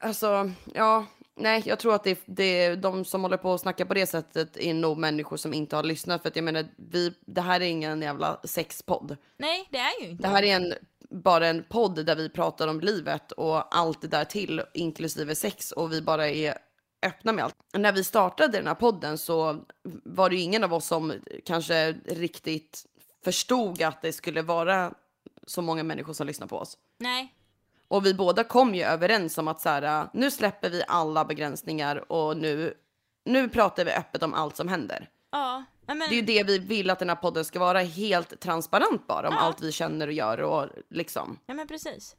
[SPEAKER 1] alltså, ja, nej, jag tror att det, det de som håller på och snackar på det sättet är nog människor som inte har lyssnat för att jag menar, vi, det här är ingen jävla sexpodd.
[SPEAKER 2] Nej, det är ju
[SPEAKER 1] Det
[SPEAKER 2] inte.
[SPEAKER 1] här är en, bara en podd där vi pratar om livet och allt det där till, inklusive sex och vi bara är öppna med allt. När vi startade den här podden så var det ju ingen av oss som kanske riktigt förstod att det skulle vara så många människor som lyssnar på oss.
[SPEAKER 2] Nej.
[SPEAKER 1] Och vi båda kom ju överens om att så här, nu släpper vi alla begränsningar och nu, nu pratar vi öppet om allt som händer.
[SPEAKER 2] Ja. ja men,
[SPEAKER 1] Det är ju det vi vill att den här podden ska vara, helt transparent bara om
[SPEAKER 2] Ja.
[SPEAKER 1] allt vi känner och gör och liksom.
[SPEAKER 2] ja men precis.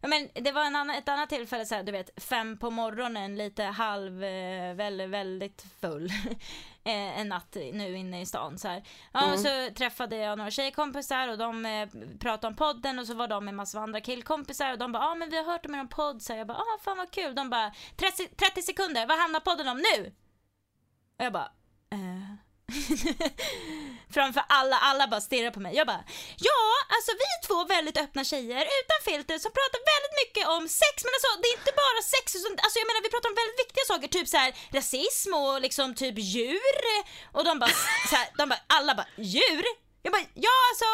[SPEAKER 2] Ja, men det var en annan, ett annat tillfälle, så här, du vet, fem på morgonen, lite halv, eh, väldigt, väldigt full eh, en natt i- nu inne i stan. Så, här. Ja, och så träffade jag några tjejkompisar och de eh, pratade om podden och så var de med massor av andra killkompisar och de bara ah, men vi har hört om er podd. Så här, jag bara ah, fan vad kul. De bara 30, 30 sekunder, vad handlar podden om nu? Och jag bara eh. Framför alla, alla bara stirrar på mig. Jag bara, ja alltså vi är två väldigt öppna tjejer utan filter som pratar väldigt mycket om sex men alltså det är inte bara sex, utan- alltså jag menar vi pratar om väldigt viktiga saker, typ så här rasism och liksom typ djur och de bara, så här, de bara alla bara djur? Jag bara, ja alltså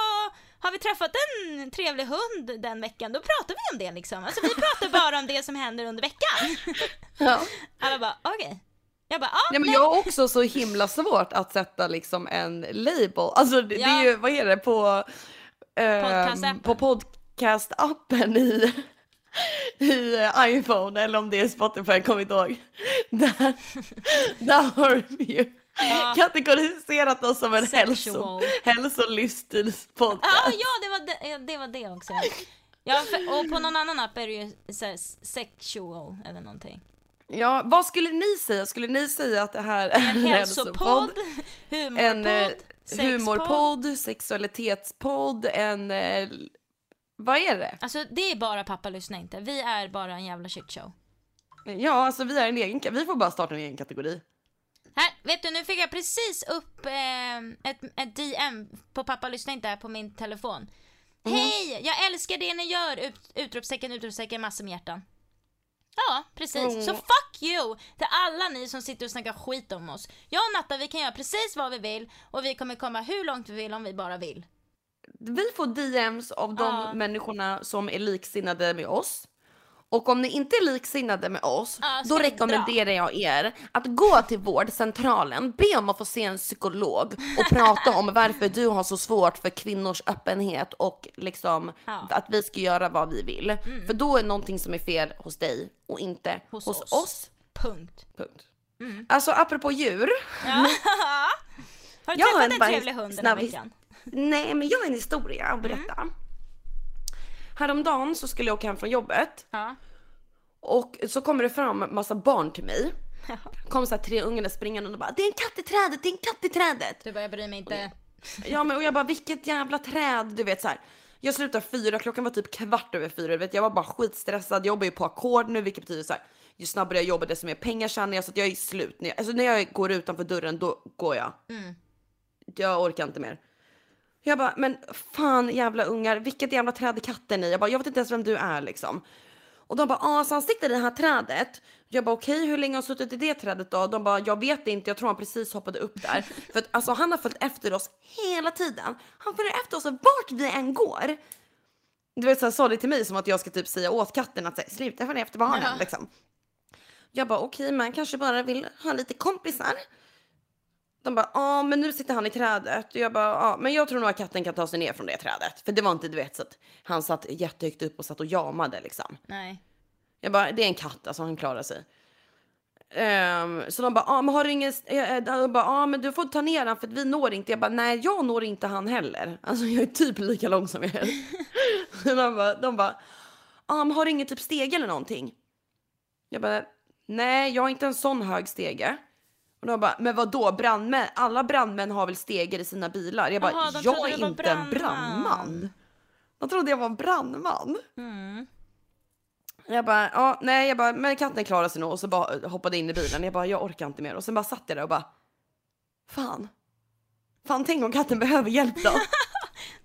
[SPEAKER 2] har vi träffat en trevlig hund den veckan då pratar vi om det liksom. Alltså vi pratar bara om det som händer under veckan.
[SPEAKER 1] Ja.
[SPEAKER 2] Alla bara okej. Jag bara ja,
[SPEAKER 1] Nej, men jag har också så himla svårt att sätta liksom en label. Alltså det, det är ju, vad är det på? ehm,
[SPEAKER 2] Podcastappen.
[SPEAKER 1] på podcastappen i, i eh, iPhone eller om det är Spotify, jag kommer inte ihåg. Där, där har vi ju
[SPEAKER 2] Ja.
[SPEAKER 1] kategoriserat oss som en hälso,
[SPEAKER 2] Sexual.
[SPEAKER 1] hälso och livsstilspodd.
[SPEAKER 2] Ja, ja det, var det, ja, det var det också. Ja, för, och på någon annan app är det ju så här, sexual eller någonting.
[SPEAKER 1] Ja, vad skulle ni säga? Skulle ni säga att det här är
[SPEAKER 2] En hälsopodd, humorpodd,
[SPEAKER 1] en eh,
[SPEAKER 2] sexpodd.
[SPEAKER 1] humorpodd, sexualitetspodd, en... Eh, vad är det?
[SPEAKER 2] Alltså det är bara pappa lyssna inte. Vi är bara en jävla shitshow.
[SPEAKER 1] Ja, alltså vi är en egen... ka- Vi får bara starta en egen kategori.
[SPEAKER 2] Här, vet du nu fick jag precis upp eh, ett, ett DM på pappa lyssna inte här på min telefon. Mhm. Hej! Jag älskar det ni gör! Ut, utropstecken, utropstecken, massor med hjärtan. Ja, precis. Så fuck you till alla ni som sitter och snackar skit om oss. Jag och Natta, vi kan göra precis vad vi vill och vi kommer komma hur långt vi vill om vi bara vill.
[SPEAKER 1] Vi får DMs av de
[SPEAKER 2] Ja.
[SPEAKER 1] människorna som är liksinnade med oss. Och om ni inte är liksinnade med oss,
[SPEAKER 2] Ja, ska
[SPEAKER 1] då
[SPEAKER 2] ni dra.
[SPEAKER 1] rekommenderar jag er att gå till vårdcentralen, be om att få se en psykolog och prata om varför du har så svårt för kvinnors öppenhet och liksom
[SPEAKER 2] Ja. Mm.
[SPEAKER 1] att vi ska göra vad vi vill. För då är någonting som är fel hos dig och inte
[SPEAKER 2] Hos
[SPEAKER 1] hos,
[SPEAKER 2] oss. Mm.
[SPEAKER 1] oss.
[SPEAKER 2] Punkt.
[SPEAKER 1] Punkt. Alltså apropå djur.
[SPEAKER 2] Ja. Har du
[SPEAKER 1] Jag har
[SPEAKER 2] träffat en
[SPEAKER 1] bara en
[SPEAKER 2] trevlig hund den här
[SPEAKER 1] snabb his-
[SPEAKER 2] veckan?
[SPEAKER 1] Nej, men jag har en historia att berätta. Häromdagen så skulle jag åka hem från jobbet
[SPEAKER 2] Ja.
[SPEAKER 1] och så kommer det fram massa barn till mig. Kom så här tre ungarna springande och bara “det är en katt i trädet, det är en katt i trädet”.
[SPEAKER 2] Du bara, jag bryr mig inte.
[SPEAKER 1] Ja men och jag bara vilket jävla träd, du vet så här. Jag slutade fyra, klockan var typ kvart över fyra, du vet jag var bara skitstressad, jag jobbar ju på ackord nu vilket betyder så här. Ju snabbare jag jobbar desto mer pengar tjänar jag så att jag är slut. När jag, alltså när jag går utanför dörren då går jag.
[SPEAKER 2] Mm.
[SPEAKER 1] Jag orkar inte mer. Jag bara, men fan jävla ungar, vilket jävla träd är katten i? Jag bara, jag vet inte ens vem du är liksom. Och de bara, ah, så han sitter i det här trädet. Jag bara, okej, hur länge har han suttit i det trädet då? De bara, jag vet inte, jag tror han precis hoppade upp där. För att alltså, han har följt efter oss hela tiden. Han följer efter oss vart vi än går. Du vet, så här, sa det till mig som att jag ska typ säga åt katten att så här, sluta följa efter barnen
[SPEAKER 2] Ja.
[SPEAKER 1] liksom. Jag bara, okej, men han kanske bara vill ha lite kompisar. De bara, ja men nu sitter han i trädet. Och jag bara, ja men jag tror nog att katten kan ta sig ner från det trädet. För det var inte, du vet, så att han satt jättehögt upp och satt och jamade liksom.
[SPEAKER 2] Nej.
[SPEAKER 1] Jag bara, det är en katt alltså, han klarar sig. Ehm, så de bara, ah, men har du ingen... eh, eh, De bara, ah, men du får ta ner han för att vi når inte. Jag bara, nej jag når inte han heller. Alltså jag är typ lika lång som jag är. Så de bara, de bara, ah, men har du ingen typ stege eller någonting? Jag bara, nej jag har inte en sån hög stege. Och de bara, men vadå brandmän? Alla brandmän har väl stegar i sina bilar? Jag bara,
[SPEAKER 2] Jaha, de
[SPEAKER 1] jag
[SPEAKER 2] trodde
[SPEAKER 1] är
[SPEAKER 2] du var
[SPEAKER 1] inte en
[SPEAKER 2] brandman."
[SPEAKER 1] brandman. De trodde jag var en brandman.
[SPEAKER 2] Mm.
[SPEAKER 1] Jag bara, ja, nej, jag bara, men katten klarade sig nog och så bara hoppade in i bilen. Jag bara, jag orkar inte mer. Och sen bara satt jag där och bara, fan, fan tänk om katten behöver hjälp då?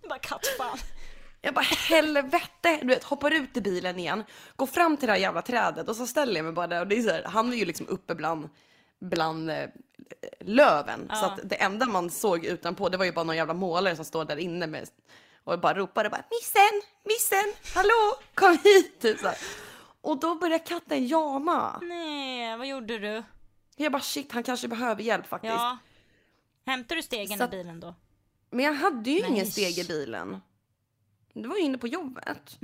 [SPEAKER 2] Du bara, kattfan.
[SPEAKER 1] Jag bara helvete, du vet hoppar ut i bilen igen, går fram till det här jävla trädet och så ställer jag mig bara där och det är så här, han är ju liksom uppe bland, bland eh, löven. Så
[SPEAKER 2] Ja.
[SPEAKER 1] att det enda man såg utanpå det var ju bara någon jävla målare som står där inne med, och bara ropade bara missen, missen, hallå, kom hit typ så här. Och då börjar katten jama.
[SPEAKER 2] Nej, vad gjorde du?
[SPEAKER 1] Jag bara shit, han kanske behöver hjälp faktiskt.
[SPEAKER 2] Ja. Hämtar du stegen
[SPEAKER 1] Så
[SPEAKER 2] i
[SPEAKER 1] att-
[SPEAKER 2] bilen då?
[SPEAKER 1] Men jag hade ju
[SPEAKER 2] Nej.
[SPEAKER 1] ingen steg i bilen. Du var ju inne på jobbet.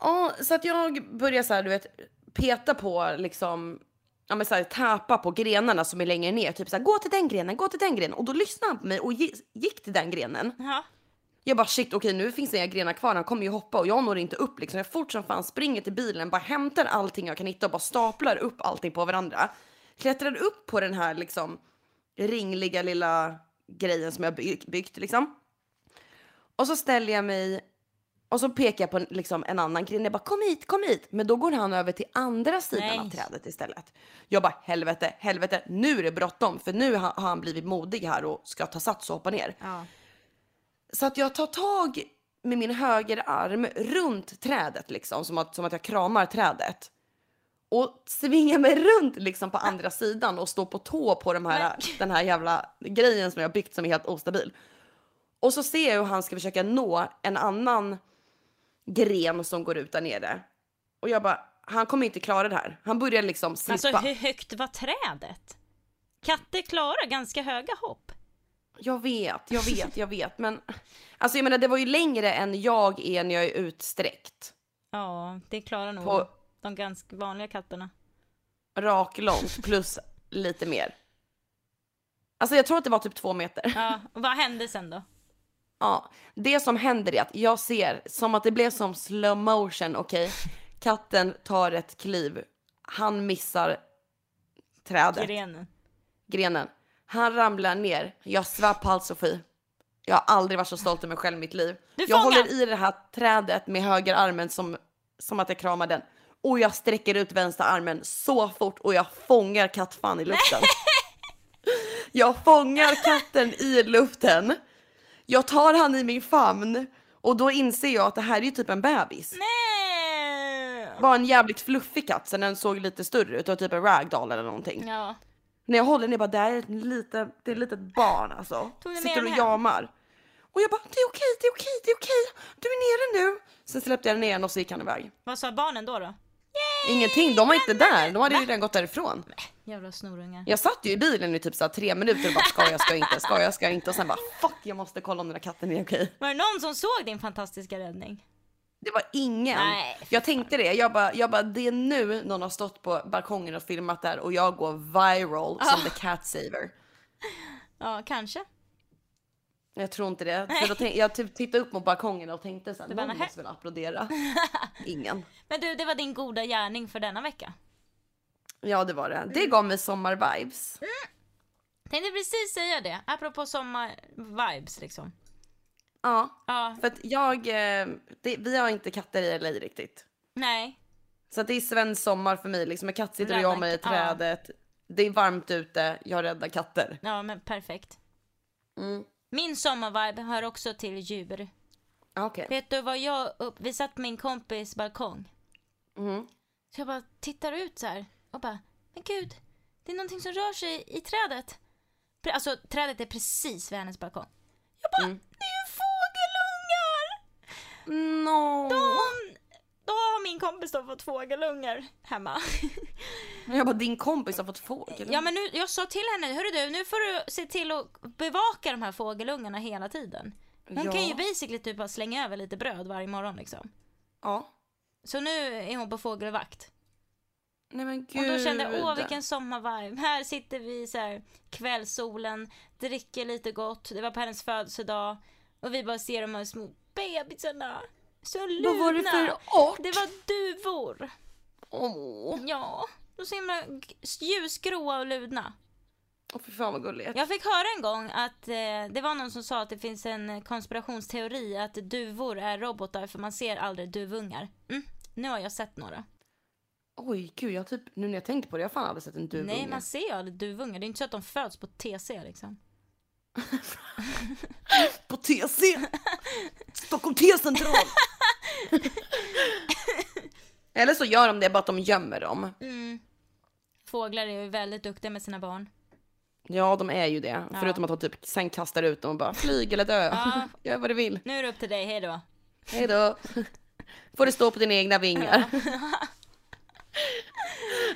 [SPEAKER 1] ja, så att jag började så här, du vet, peta på liksom, ja men så här, täpa på grenarna som är längre ner. Typ så här, gå till den grenen, gå till den grenen. Och då lyssnade han på mig och gi- gick till den grenen.
[SPEAKER 2] Ja.
[SPEAKER 1] Jag bara shit, okej nu finns det inga grenar kvar, han kommer ju hoppa och jag når inte upp liksom. Jag fort som fan springer till bilen, bara hämtar allting jag kan hitta och bara staplar upp allting på varandra. Klättrar upp på den här liksom ringliga lilla grejen som jag byg- byggt liksom. Och så ställer jag mig och så pekar jag på en- liksom en annan gren. Jag bara kom hit, kom hit. Men då går han över till andra sidan
[SPEAKER 2] Nej.
[SPEAKER 1] av trädet istället. Jag bara helvete, helvete. Nu är det bråttom för nu har har han blivit modig här och ska ta sats och hoppa ner.
[SPEAKER 2] ja.
[SPEAKER 1] Så att jag tar tag med min högerarm runt trädet liksom, som att, som att jag kramar trädet. Och svingar mig runt liksom på andra sidan och står på tå på de här,
[SPEAKER 2] Men-
[SPEAKER 1] den här jävla grejen som jag har byggt som är helt ostabil. Och så ser jag hur han ska försöka nå en annan gren som går ut där nere. Och jag bara, han kommer inte klara det här. Han börjar liksom slippa.
[SPEAKER 2] Alltså hur högt var trädet? Katter klarar ganska höga hopp.
[SPEAKER 1] Jag vet, jag vet, jag vet. Men alltså jag menar, det var ju längre än jag är när jag är utsträckt.
[SPEAKER 2] Ja, det klarar nog
[SPEAKER 1] På-
[SPEAKER 2] de ganska vanliga katterna.
[SPEAKER 1] rak långt plus lite mer. Alltså jag tror att det var typ två meter.
[SPEAKER 2] Ja, och vad hände sen då?
[SPEAKER 1] Ja, det som händer är att jag ser som att det blev som slow motion, okej. Katten tar ett kliv Han missar trädet,
[SPEAKER 2] Grenen.
[SPEAKER 1] grenen. Han ramlar ner. Jag svär på allt Sofie. Jag har aldrig varit så stolt över mig själv i mitt liv.
[SPEAKER 2] Du
[SPEAKER 1] jag
[SPEAKER 2] fångar!
[SPEAKER 1] håller i det här trädet med höger armen som, som att jag kramar den. Och jag sträcker ut vänster armen så fort och jag fångar kattfan i luften. Jag fångar katten i luften. Jag tar han i min famn och då inser jag att det här är ju typ en bebis.
[SPEAKER 2] Nej!
[SPEAKER 1] Var en jävligt fluffig katt sen den såg lite större ut och typ en ragdoll eller någonting.
[SPEAKER 2] Ja.
[SPEAKER 1] När jag håller den jag bara det här är ett litet, det är ett litet barn alltså.
[SPEAKER 2] Tog du med
[SPEAKER 1] Sitter
[SPEAKER 2] den
[SPEAKER 1] och
[SPEAKER 2] hem?
[SPEAKER 1] jamar. Och jag bara det är okej, det är okej, det är okej. Du är nere nu. Sen släppte jag den igen och så gick han iväg.
[SPEAKER 2] Vad sa barnen då? då?
[SPEAKER 1] Ingenting, de var inte där. De hade ju redan gått därifrån.
[SPEAKER 2] Jävla snorungar.
[SPEAKER 1] Jag satt ju i bilen i typ så här tre minuter och bara ska jag, ska jag inte, ska jag, ska jag inte. Och sen bara fuck jag måste kolla om den där katten är okej.
[SPEAKER 2] Var det någon som såg din fantastiska räddning?
[SPEAKER 1] Det var ingen.
[SPEAKER 2] Nej, fy
[SPEAKER 1] jag tänkte det. Jag bara, jag bara, det är nu någon har stått på balkongen och filmat där och jag går viral som
[SPEAKER 2] Ah.
[SPEAKER 1] the cat saver.
[SPEAKER 2] Ja, kanske.
[SPEAKER 1] Jag tror inte det. För då tänk, jag typ tittade upp mot balkongen och tänkte såhär,
[SPEAKER 2] Du bara,
[SPEAKER 1] någon
[SPEAKER 2] "Nähä."
[SPEAKER 1] måste väl applådera. Ingen.
[SPEAKER 2] Men du, det var din goda gärning för denna vecka.
[SPEAKER 1] Ja det var det. Det gav mig sommarvibes.
[SPEAKER 2] Tänkte precis säga det, apropå sommar-vibes liksom.
[SPEAKER 1] Ja.
[SPEAKER 2] Ja,
[SPEAKER 1] För att jag, eh, det, vi har inte katter i LA riktigt.
[SPEAKER 2] nej.
[SPEAKER 1] Så att det är svensk sommar för mig liksom. En katt sitter och
[SPEAKER 2] Rädda
[SPEAKER 1] jag med i
[SPEAKER 2] katt- ja.
[SPEAKER 1] trädet. Det är varmt ute, jag räddar katter.
[SPEAKER 2] Ja, men perfekt.
[SPEAKER 1] Mm.
[SPEAKER 2] Min sommarvibe hör också till djur.
[SPEAKER 1] Okej.
[SPEAKER 2] Vet du vad jag upp... Vi satt på min kompis balkong.
[SPEAKER 1] Mm.
[SPEAKER 2] Så jag bara tittar ut så här och bara, men gud, det är någonting som rör sig i trädet. Pre- Alltså trädet är precis vid hennes balkong. Jag bara, det är ju fågelungar!
[SPEAKER 1] No.
[SPEAKER 2] Hon, då har min kompis då fått fågelungar hemma.
[SPEAKER 1] Jag bara, din kompis har fått fågel.
[SPEAKER 2] ja men nu, jag sa till henne, hörru du, nu får du se till att bevaka de här fågelungarna hela tiden. Hon kan ju
[SPEAKER 1] Ja.
[SPEAKER 2] basically typ bara slänga över lite bröd varje morgon liksom.
[SPEAKER 1] Ja.
[SPEAKER 2] Så nu är hon på fågelvakt.
[SPEAKER 1] Nej men gud.
[SPEAKER 2] Och då kände jag, åh vilken sommarvibe. Här sitter vi så här, kvällssolen, dricker lite gott. Det var på hennes födelsedag. Och vi bara ser de här små bebisarna. Så luna.
[SPEAKER 1] Vad var det för art?
[SPEAKER 2] Det var duvor.
[SPEAKER 1] Åh,
[SPEAKER 2] Ja, de så himla g- ljusgråa och ludna.
[SPEAKER 1] Åh, fy fan vad gulligt.
[SPEAKER 2] Jag fick höra en gång att eh, det var någon som sa att det finns en konspirationsteori att duvor är robotar för man ser aldrig duvungar. Mm, nu har jag sett några.
[SPEAKER 1] Oj gud, jag typ, nu när jag tänker på det, jag har fan aldrig sett en duvunge.
[SPEAKER 2] Nej, man ser ju aldrig duvungar. Det är inte så att de föds på TC liksom.
[SPEAKER 1] På TC! Stockholm T-central! Eller så gör de det bara att de gömmer dem.
[SPEAKER 2] Mm. Fåglar är ju väldigt duktiga med sina barn.
[SPEAKER 1] Ja, de är ju det.
[SPEAKER 2] Ja.
[SPEAKER 1] Förutom att de typ sen kastar ut dem och bara flyg eller dö.
[SPEAKER 2] Ja.
[SPEAKER 1] Gör vad du vill.
[SPEAKER 2] Nu är det upp till dig, hejdå.
[SPEAKER 1] Hej då. Får du stå på dina egna vingar.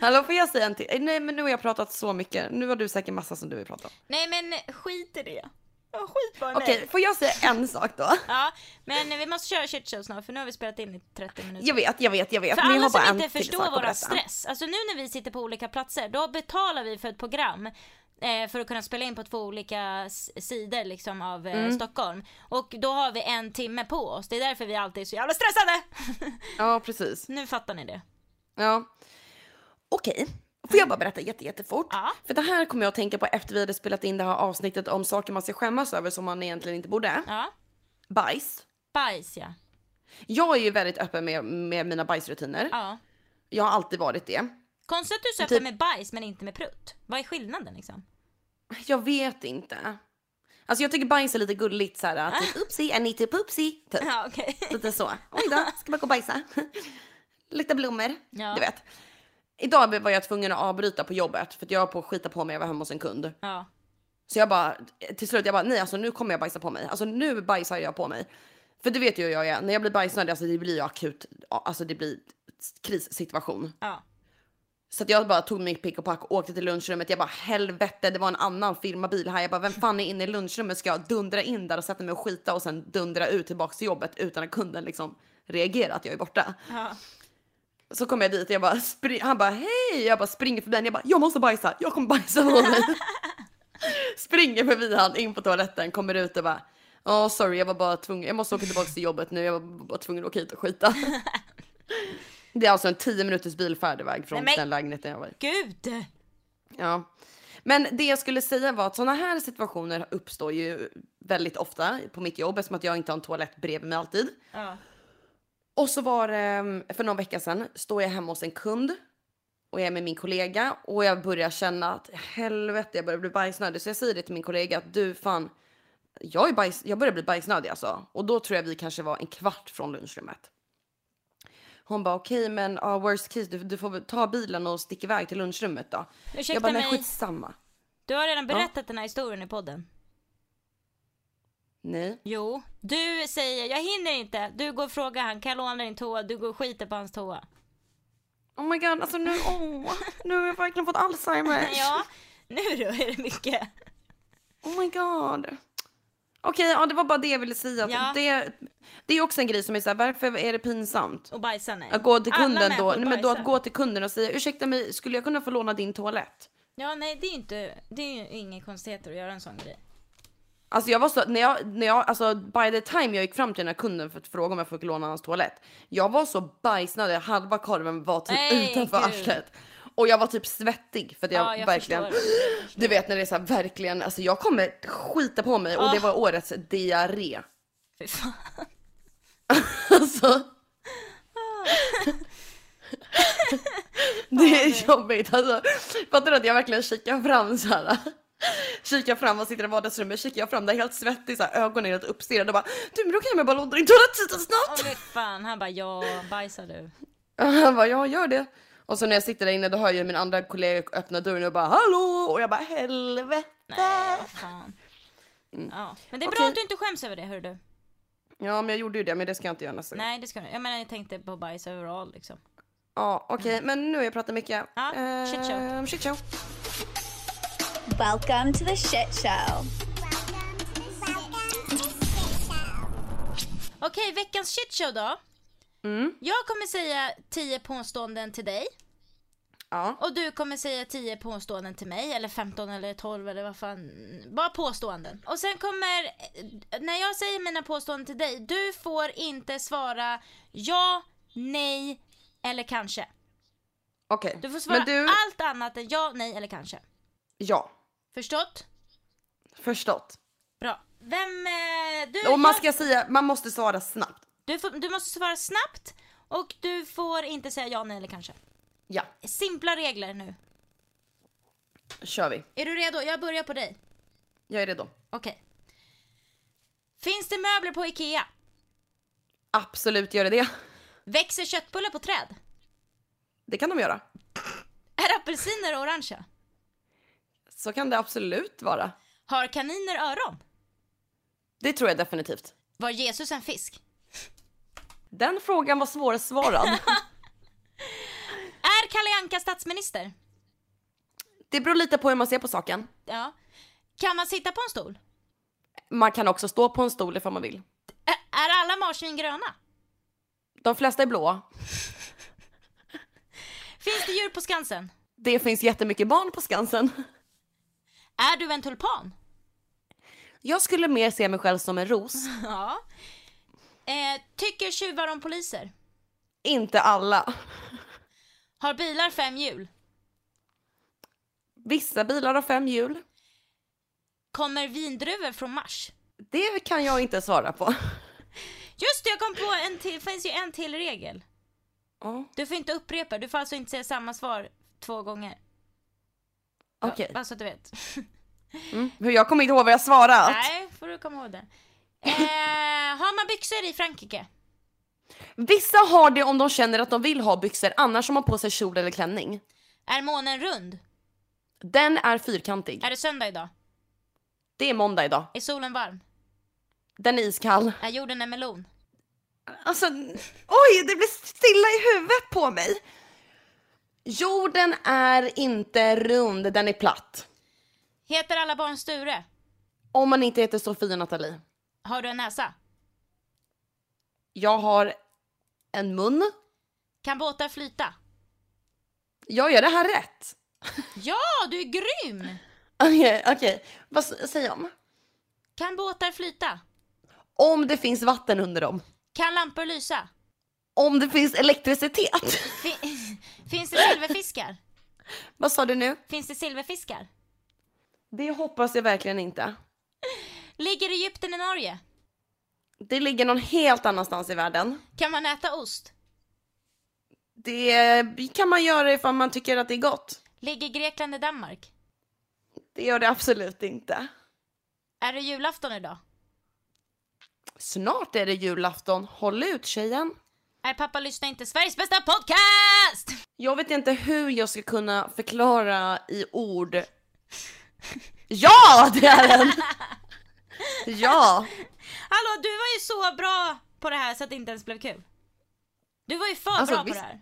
[SPEAKER 1] Hallå, får jag säga en till? Eh, Nej, men nu har jag pratat så mycket. Nu har du säkert massa som du vill prata om.
[SPEAKER 2] Nej men skit i det. Ja, skit bara
[SPEAKER 1] Okej, får jag säga en sak då?
[SPEAKER 2] Ja, men vi måste köra shit show snart för nu har vi spelat in i 30 minuter.
[SPEAKER 1] Jag vet, jag vet, jag vet. men
[SPEAKER 2] För
[SPEAKER 1] jag
[SPEAKER 2] alla
[SPEAKER 1] har bara
[SPEAKER 2] som
[SPEAKER 1] en till
[SPEAKER 2] inte
[SPEAKER 1] sak
[SPEAKER 2] förstår
[SPEAKER 1] att
[SPEAKER 2] våra
[SPEAKER 1] berätta.
[SPEAKER 2] stress, alltså nu när vi sitter på olika platser, då betalar vi för ett program eh, för att kunna spela in på två olika s- sidor liksom av eh,
[SPEAKER 1] Mm.
[SPEAKER 2] Stockholm. Och då har vi en timme på oss, det är därför vi alltid är så jävla stressade!
[SPEAKER 1] Ja, precis.
[SPEAKER 2] nu fattar ni det.
[SPEAKER 1] Ja. Okej, får jag bara berätta jätte, jättefort?
[SPEAKER 2] Ja.
[SPEAKER 1] För det här kommer jag att tänka på efter vi hade spelat in det här avsnittet om saker man ska skämmas över som man egentligen inte borde.
[SPEAKER 2] Ja.
[SPEAKER 1] Bajs.
[SPEAKER 2] Bajs ja.
[SPEAKER 1] Jag är ju väldigt öppen med, med mina bajsrutiner.
[SPEAKER 2] ja.
[SPEAKER 1] Jag har alltid varit det.
[SPEAKER 2] Konstigt att du söper
[SPEAKER 1] Typ-
[SPEAKER 2] med bajs men inte med prutt. Vad är skillnaden liksom?
[SPEAKER 1] Jag vet inte. Alltså jag tycker bajs är lite gulligt så här. Typ, oopsie, I need to poopsie. Typ.
[SPEAKER 2] Ja okej.
[SPEAKER 1] Lite så. Oj då, ska bara gå och bajsa. Lukta blommor.
[SPEAKER 2] Ja.
[SPEAKER 1] Du vet. Idag var jag tvungen att avbryta på jobbet för att jag var på att skita på mig. Jag var hemma hos en kund.
[SPEAKER 2] Ja.
[SPEAKER 1] Så jag bara, till slut jag bara, nej alltså nu kommer jag bajsa på mig. Alltså nu bajsar jag på mig. För det vet ju hur jag är, när jag blir bajsnödig, alltså det blir ju akut, alltså det blir krissituation.
[SPEAKER 2] ja.
[SPEAKER 1] Så att jag bara tog min pick och pack och åkte till lunchrummet. Jag bara helvete, det var en annan firmabil här. Jag bara, vem fan är inne i lunchrummet? Ska jag dundra in där och sätta mig och skita och sen dundra ut tillbaks till jobbet utan att kunden liksom reagerar att jag är borta?
[SPEAKER 2] ja.
[SPEAKER 1] Så kommer jag dit och jag bara spring, han bara hej, jag bara springer förbi honom. Jag bara jag måste bajsa, jag kommer bajsa på mig. springer förbi han in på toaletten, kommer ut och bara ja sorry jag var bara tvungen, jag måste åka tillbaka till jobbet nu, jag var bara tvungen att åka hit och skita. Det är alltså en 10 minuters bilfärd iväg från
[SPEAKER 2] Nej, men-
[SPEAKER 1] den lägenheten jag var i.
[SPEAKER 2] Gud!
[SPEAKER 1] Ja. Men det jag skulle säga var att sådana här situationer uppstår ju väldigt ofta på mitt jobb eftersom att jag inte har en toalett bredvid mig alltid.
[SPEAKER 2] Ja.
[SPEAKER 1] Och så var det eh, för någon vecka sedan står jag hemma hos en kund och jag är med min kollega och jag börjar känna att helvete, jag börjar bli bajsnödig. Så jag säger det till min kollega att du fan, jag, är bajs, jag börjar bli bajsnödig alltså. Och då tror jag vi kanske var en kvart från lunchrummet. Hon bara okej, men ja, worst case, du, du får väl ta bilen och sticka iväg till lunchrummet då.
[SPEAKER 2] Ursäkta
[SPEAKER 1] jag bara, nej
[SPEAKER 2] mig,
[SPEAKER 1] skitsamma.
[SPEAKER 2] du har redan berättat den här historien i podden.
[SPEAKER 1] Nej.
[SPEAKER 2] Jo, du säger jag hinner inte, du går och frågar han, kan jag låna din toa? Du går och skiter på hans toa.
[SPEAKER 1] Oh my god, alltså nu, åh, nu har jag verkligen fått Alzheimer.
[SPEAKER 2] Ja, nu då är det mycket.
[SPEAKER 1] Oh my god. Okej, ja, det var bara det jag ville säga. Att
[SPEAKER 2] Ja.
[SPEAKER 1] Det, det är också en grej som är så här, varför är det pinsamt?
[SPEAKER 2] Och bajsa nej.
[SPEAKER 1] Att gå till
[SPEAKER 2] Alla
[SPEAKER 1] kunden då,
[SPEAKER 2] människor
[SPEAKER 1] nej, men då
[SPEAKER 2] bajsar.
[SPEAKER 1] att gå till kunden och säga ursäkta mig, skulle jag kunna få låna din toalett?
[SPEAKER 2] Ja nej det är ju inte, det är ju inga konstigheter att göra en sån grej.
[SPEAKER 1] Alltså jag var så, när jag, när jag, alltså by the time jag gick fram till den här kunden för att fråga om jag fick låna hans toalett. Jag var så bajsnödig, halva korven var typ
[SPEAKER 2] Nej,
[SPEAKER 1] utanför
[SPEAKER 2] gud.
[SPEAKER 1] arslet. Och jag var typ svettig för att jag,
[SPEAKER 2] Ja, jag
[SPEAKER 1] verkligen,
[SPEAKER 2] förstår.
[SPEAKER 1] du vet när det är så här verkligen, alltså jag kommer skita på mig och det
[SPEAKER 2] Ah.
[SPEAKER 1] var årets diarré.
[SPEAKER 2] Fy fan.
[SPEAKER 1] Alltså. det är jobbigt. Alltså, fattar du att jag verkligen kikar fram så här? Kikar fram och sitter i vardagsrummet, kikar jag fram där helt svettig, så här, ögonen helt uppstirrade och bara du men då kan jag väl bara låna din toalett lite
[SPEAKER 2] Åh
[SPEAKER 1] snabbt.
[SPEAKER 2] fy fan, han bara ja, bajsar du.
[SPEAKER 1] Han bara ja gör det. Och så när jag sitter där inne då hör jag min andra kollega öppna dörren och bara hallå och jag bara helvete.
[SPEAKER 2] Nej, vad fan. Ja. Men det är bra
[SPEAKER 1] Mm. Okej.
[SPEAKER 2] att du inte skäms över det hör du.
[SPEAKER 1] Ja men jag gjorde ju det men det ska jag inte göra nästa gång.
[SPEAKER 2] Nej det ska du Jag menar jag tänkte på bajs överallt liksom.
[SPEAKER 1] Ja okej men nu har jag pratat mycket.
[SPEAKER 2] Mm. Ja, shit show.
[SPEAKER 1] Ehm, shit show.
[SPEAKER 3] Welcome to the shit show.
[SPEAKER 2] Okej, veckans shitshow då.
[SPEAKER 1] Mm.
[SPEAKER 2] Jag kommer säga 10 påståenden till dig.
[SPEAKER 1] Ja.
[SPEAKER 2] Och du kommer säga 10 påståenden till mig, eller 15 eller 12 eller vad fan. Bara påståenden. Och sen kommer, eh, när jag säger mina påståenden till dig, du får inte svara ja, nej eller kanske.
[SPEAKER 1] Okej.
[SPEAKER 2] Du får svara Ah.
[SPEAKER 1] men du,
[SPEAKER 2] allt annat än ja, nej eller kanske.
[SPEAKER 1] ja.
[SPEAKER 2] Förstått?
[SPEAKER 1] Förstått.
[SPEAKER 2] Bra. Vem, eh, du,
[SPEAKER 1] Och man
[SPEAKER 2] jag-
[SPEAKER 1] ska säga, man måste svara snabbt.
[SPEAKER 2] du, får, du måste svara snabbt och du får inte säga ja, nej eller kanske.
[SPEAKER 1] Ja,
[SPEAKER 2] Simpla regler nu.
[SPEAKER 1] kör vi.
[SPEAKER 2] Är du redo? Jag börjar på dig.
[SPEAKER 1] Jag är redo.
[SPEAKER 2] Okej. Finns det möbler på IKEA?
[SPEAKER 1] Absolut gör det det.
[SPEAKER 2] Växer köttbullar på träd?
[SPEAKER 1] Det kan de göra.
[SPEAKER 2] Är apelsiner orangea?
[SPEAKER 1] Så kan det absolut vara.
[SPEAKER 2] Har kaniner öron?
[SPEAKER 1] Det tror jag definitivt.
[SPEAKER 2] Var Jesus en fisk?
[SPEAKER 1] Den frågan var svårsvarad.
[SPEAKER 2] Är Kalle Anka statsminister?
[SPEAKER 1] det beror lite på hur man ser på saken.
[SPEAKER 2] Ja. Kan man sitta på en stol?
[SPEAKER 1] Man kan också stå på en stol ifall man vill.
[SPEAKER 2] Ä- är alla marsvin gröna?
[SPEAKER 1] De flesta är blåa.
[SPEAKER 2] Finns det djur på Skansen?
[SPEAKER 1] Det finns jättemycket barn på Skansen.
[SPEAKER 2] Är du en tulpan?
[SPEAKER 1] Jag skulle mer se mig själv som en ros.
[SPEAKER 2] Ja. Eh, tycker tjuvar om poliser?
[SPEAKER 1] Inte alla.
[SPEAKER 2] Har bilar fem hjul?
[SPEAKER 1] Vissa bilar har fem hjul.
[SPEAKER 2] Kommer vindruvor från Mars?
[SPEAKER 1] Det kan jag inte svara på.
[SPEAKER 2] Just det, jag kom på en till. Det finns ju en till regel.
[SPEAKER 1] Ja,
[SPEAKER 2] Du får inte upprepa. Du får alltså inte säga samma svar två gånger.
[SPEAKER 1] Okej.
[SPEAKER 2] Bara så att du vet.
[SPEAKER 1] Mm. Jag kommer inte ihåg vad jag svarat.
[SPEAKER 2] Nej, får du komma ihåg det. Eh, har man byxor i Frankrike?
[SPEAKER 1] Vissa har det om de känner att de vill ha byxor, annars har man på sig kjol eller klänning.
[SPEAKER 2] Är månen rund?
[SPEAKER 1] Den är fyrkantig.
[SPEAKER 2] Är det söndag idag?
[SPEAKER 1] Det är måndag idag.
[SPEAKER 2] Är solen varm?
[SPEAKER 1] Den är iskall.
[SPEAKER 2] Är jorden en melon?
[SPEAKER 1] Alltså, oj, det blir stilla i huvudet på mig. Jorden är inte rund, den är platt.
[SPEAKER 2] Heter alla barn Sture?
[SPEAKER 1] Om man inte heter Sofia Nathalie.
[SPEAKER 2] Har du en näsa?
[SPEAKER 1] Jag har en mun.
[SPEAKER 2] Kan båtar flyta?
[SPEAKER 1] Jag gör det här rätt.
[SPEAKER 2] Ja, du är grym!
[SPEAKER 1] Okej, okej. Vad s- säger jag om?
[SPEAKER 2] Kan båtar flyta?
[SPEAKER 1] Om det finns vatten under dem.
[SPEAKER 2] Kan lampor lysa?
[SPEAKER 1] Om det finns elektricitet.
[SPEAKER 2] Fin- Finns det silverfiskar?
[SPEAKER 1] Vad sa du nu?
[SPEAKER 2] Finns det silverfiskar?
[SPEAKER 1] Det hoppas jag verkligen inte.
[SPEAKER 2] Ligger Egypten i Norge?
[SPEAKER 1] Det ligger någon helt annanstans i världen.
[SPEAKER 2] Kan man äta ost?
[SPEAKER 1] Det kan man göra ifall man tycker att det är gott.
[SPEAKER 2] Ligger Grekland i Danmark?
[SPEAKER 1] Det gör det absolut inte.
[SPEAKER 2] Är det julafton idag?
[SPEAKER 1] Snart är det julafton. Håll ut tjejen.
[SPEAKER 2] Är pappa lyssnar inte Sveriges bästa podcast?
[SPEAKER 1] Jag vet inte hur jag ska kunna förklara i ord. Ja, det är den! Ja,
[SPEAKER 2] Hallå, du var ju så bra på det här så att det inte ens blev kul. Du var ju för
[SPEAKER 1] Alltså,
[SPEAKER 2] bra
[SPEAKER 1] visst-
[SPEAKER 2] på det här.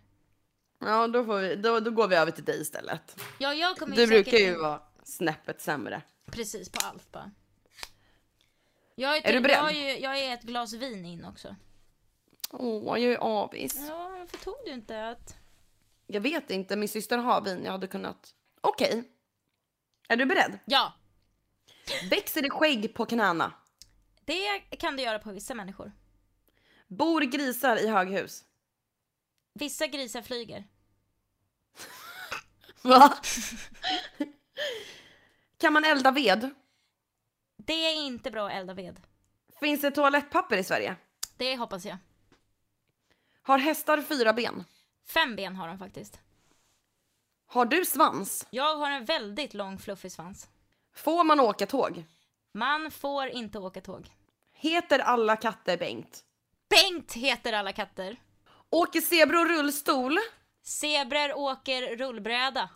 [SPEAKER 1] ja då, får vi, då, då går vi över till dig istället.
[SPEAKER 2] Ja, jag kommer
[SPEAKER 1] Du brukar
[SPEAKER 2] säkert
[SPEAKER 1] ju
[SPEAKER 2] in
[SPEAKER 1] vara snäppet sämre.
[SPEAKER 2] precis på allt bara. Jag är, typ-
[SPEAKER 1] Är du beredd?
[SPEAKER 2] Jag är, ju, jag är ett glas vin in också.
[SPEAKER 1] Åh, jag är avis.
[SPEAKER 2] Ja, varför tog du inte att...
[SPEAKER 1] Jag vet inte, min syster har vin. Jag hade kunnat... Okej. Är du beredd?
[SPEAKER 2] Ja,
[SPEAKER 1] Växer det skägg på knäna?
[SPEAKER 2] det kan du göra på vissa människor.
[SPEAKER 1] Bor grisar i höghus?
[SPEAKER 2] Vissa grisar flyger.
[SPEAKER 1] Va? kan man elda ved?
[SPEAKER 2] Det är inte bra att elda ved.
[SPEAKER 1] Finns det toalettpapper i Sverige?
[SPEAKER 2] Det hoppas jag.
[SPEAKER 1] Har hästar fyra ben?
[SPEAKER 2] Fem ben har de faktiskt.
[SPEAKER 1] Har du svans?
[SPEAKER 2] Jag har en väldigt lång fluffig svans.
[SPEAKER 1] Får man åka tåg?
[SPEAKER 2] Man får inte åka tåg.
[SPEAKER 1] Heter alla katter Bengt?
[SPEAKER 2] Bengt heter alla katter.
[SPEAKER 1] Åker zebror rullstol?
[SPEAKER 2] Zebror åker rullbräda.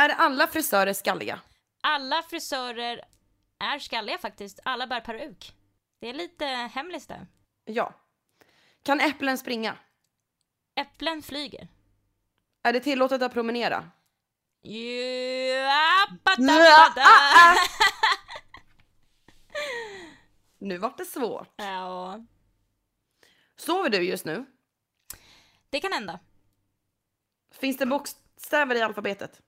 [SPEAKER 1] Är alla frisörer skalliga?
[SPEAKER 2] Alla frisörer är skalliga faktiskt. Alla bär peruk. Det är lite hemligt där.
[SPEAKER 1] Ja. Kan äpplen springa?
[SPEAKER 2] Äpplen flyger.
[SPEAKER 1] Är det tillåtet att promenera?
[SPEAKER 2] Juapatapada.
[SPEAKER 1] Nu vart det svårt.
[SPEAKER 2] Ja,
[SPEAKER 1] Sover du just nu?
[SPEAKER 2] det kan hända.
[SPEAKER 1] Finns det bokstäver i alfabetet?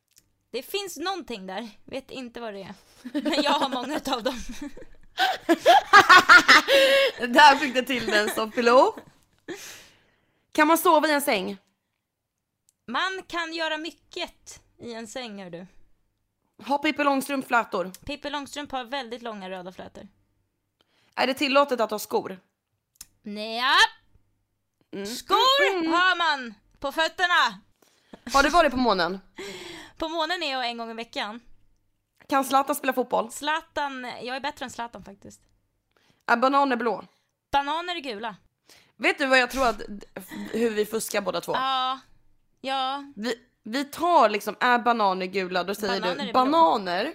[SPEAKER 2] Det finns någonting där. Vet inte vad det är. Men jag har många av dem.
[SPEAKER 1] Där fick du till den som pilot. Kan man sova i en säng?
[SPEAKER 2] Man kan göra mycket i en säng, hör du.
[SPEAKER 1] Har Pippi Långstrump flätor?
[SPEAKER 2] Pippi Långstrump har väldigt långa röda flätor.
[SPEAKER 1] Är det tillåtet att ha skor?
[SPEAKER 2] Nja,
[SPEAKER 1] Mm.
[SPEAKER 2] skor har man på fötterna.
[SPEAKER 1] Har du varit på månen?
[SPEAKER 2] På månen är jag en gång i veckan.
[SPEAKER 1] Kan Zlatan spela fotboll?
[SPEAKER 2] Zlatan, jag är bättre än Zlatan faktiskt.
[SPEAKER 1] Är bananer blå?
[SPEAKER 2] Bananer är gula.
[SPEAKER 1] Vet du vad jag tror att hur vi fuskar båda två?
[SPEAKER 2] Ja, ja,
[SPEAKER 1] Vi, vi tar liksom, är bananer gula? Då säger
[SPEAKER 2] Bananer är
[SPEAKER 1] du
[SPEAKER 2] blå.
[SPEAKER 1] bananer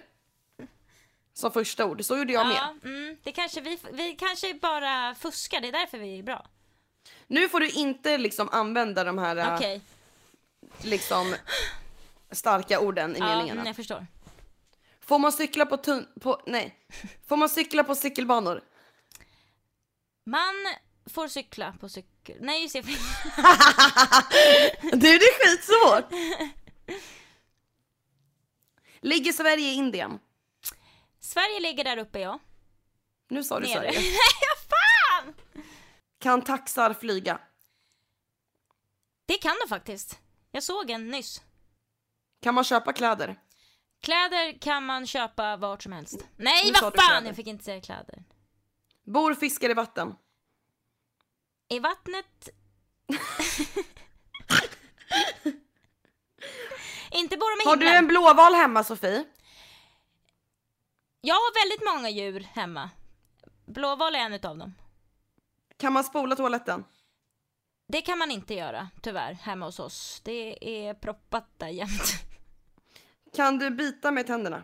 [SPEAKER 1] som första ord. Så gjorde jag med.
[SPEAKER 2] ja. Mm, det kanske vi, vi kanske bara fuskar, det är därför vi är bra.
[SPEAKER 1] Nu får du inte liksom använda de här eh,
[SPEAKER 2] Okej,
[SPEAKER 1] liksom starka orden i
[SPEAKER 2] ja,
[SPEAKER 1] meningarna.
[SPEAKER 2] mm, jag förstår.
[SPEAKER 1] Får man cykla på tun... På, nej. Får man cykla på cykelbanor?
[SPEAKER 2] Man får cykla på cykel... Nej just det,
[SPEAKER 1] Du, det är skitsvårt! Ligger Sverige i Indien?
[SPEAKER 2] Sverige ligger där uppe ja.
[SPEAKER 1] Nu sa du
[SPEAKER 2] Nere.
[SPEAKER 1] Sverige. Kan taxar flyga?
[SPEAKER 2] Det kan de faktiskt. Jag såg en nyss.
[SPEAKER 1] Kan man köpa kläder?
[SPEAKER 2] Kläder kan man köpa vart som helst. Nej
[SPEAKER 1] nu sa
[SPEAKER 2] vad
[SPEAKER 1] du
[SPEAKER 2] fan,
[SPEAKER 1] kläder.
[SPEAKER 2] jag fick inte säga kläder.
[SPEAKER 1] Bor fiskar i vatten?
[SPEAKER 2] I vattnet... Inte bor de i
[SPEAKER 1] Har du en
[SPEAKER 2] himlen.
[SPEAKER 1] blåval hemma Sofie?
[SPEAKER 2] Jag har väldigt många djur hemma. Blåval är en utav dem.
[SPEAKER 1] Kan man spola toaletten?
[SPEAKER 2] Det kan man inte göra, tyvärr, hemma hos oss. Det är proppat där jämt.
[SPEAKER 1] Kan du bita med tänderna?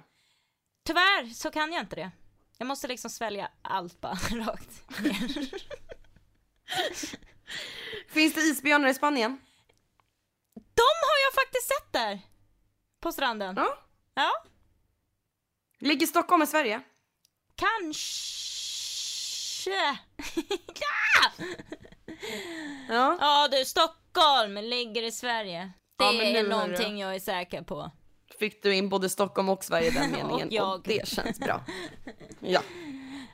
[SPEAKER 2] Tyvärr så kan jag inte det. Jag måste liksom svälja allt bara rakt ner.
[SPEAKER 1] Finns det isbjörnar i Spanien?
[SPEAKER 2] De har jag faktiskt sett där! På stranden.
[SPEAKER 1] Ja.
[SPEAKER 2] Ja,
[SPEAKER 1] Ligger Stockholm i Sverige?
[SPEAKER 2] kanske.
[SPEAKER 1] Ja.
[SPEAKER 2] Ja du, Stockholm ligger i Sverige. Det
[SPEAKER 1] Ja, men nu
[SPEAKER 2] är
[SPEAKER 1] hörru.
[SPEAKER 2] någonting jag är säker på.
[SPEAKER 1] Fick du in både Stockholm och Sverige i den meningen
[SPEAKER 2] Och jag.
[SPEAKER 1] och det känns bra. Ja.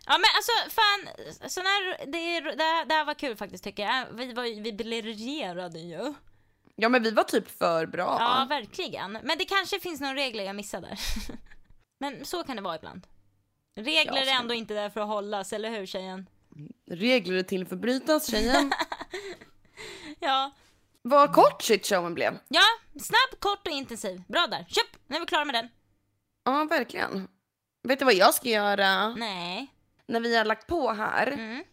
[SPEAKER 2] Ja men alltså fan, sån här, det, är, det, här, det här var kul faktiskt tycker jag. Vi, var, ju- vi blev regerade ju.
[SPEAKER 1] Ja men vi var typ för bra.
[SPEAKER 2] Ja, verkligen. Men det kanske finns några regler jag missade. där. men så kan det vara ibland. Regler
[SPEAKER 1] Ja, så-
[SPEAKER 2] är ändå inte där för att hållas, eller hur tjejen?
[SPEAKER 1] Regler är till för att brytas tjejen.
[SPEAKER 2] Ja.
[SPEAKER 1] Vad kort shitshowen blev.
[SPEAKER 2] Ja, snabb, kort och intensiv. Bra där. Köp! Nu är vi klara med den.
[SPEAKER 1] Ja verkligen. Vet du vad jag ska göra
[SPEAKER 2] Nej.
[SPEAKER 1] när vi har lagt på här?
[SPEAKER 2] Mm.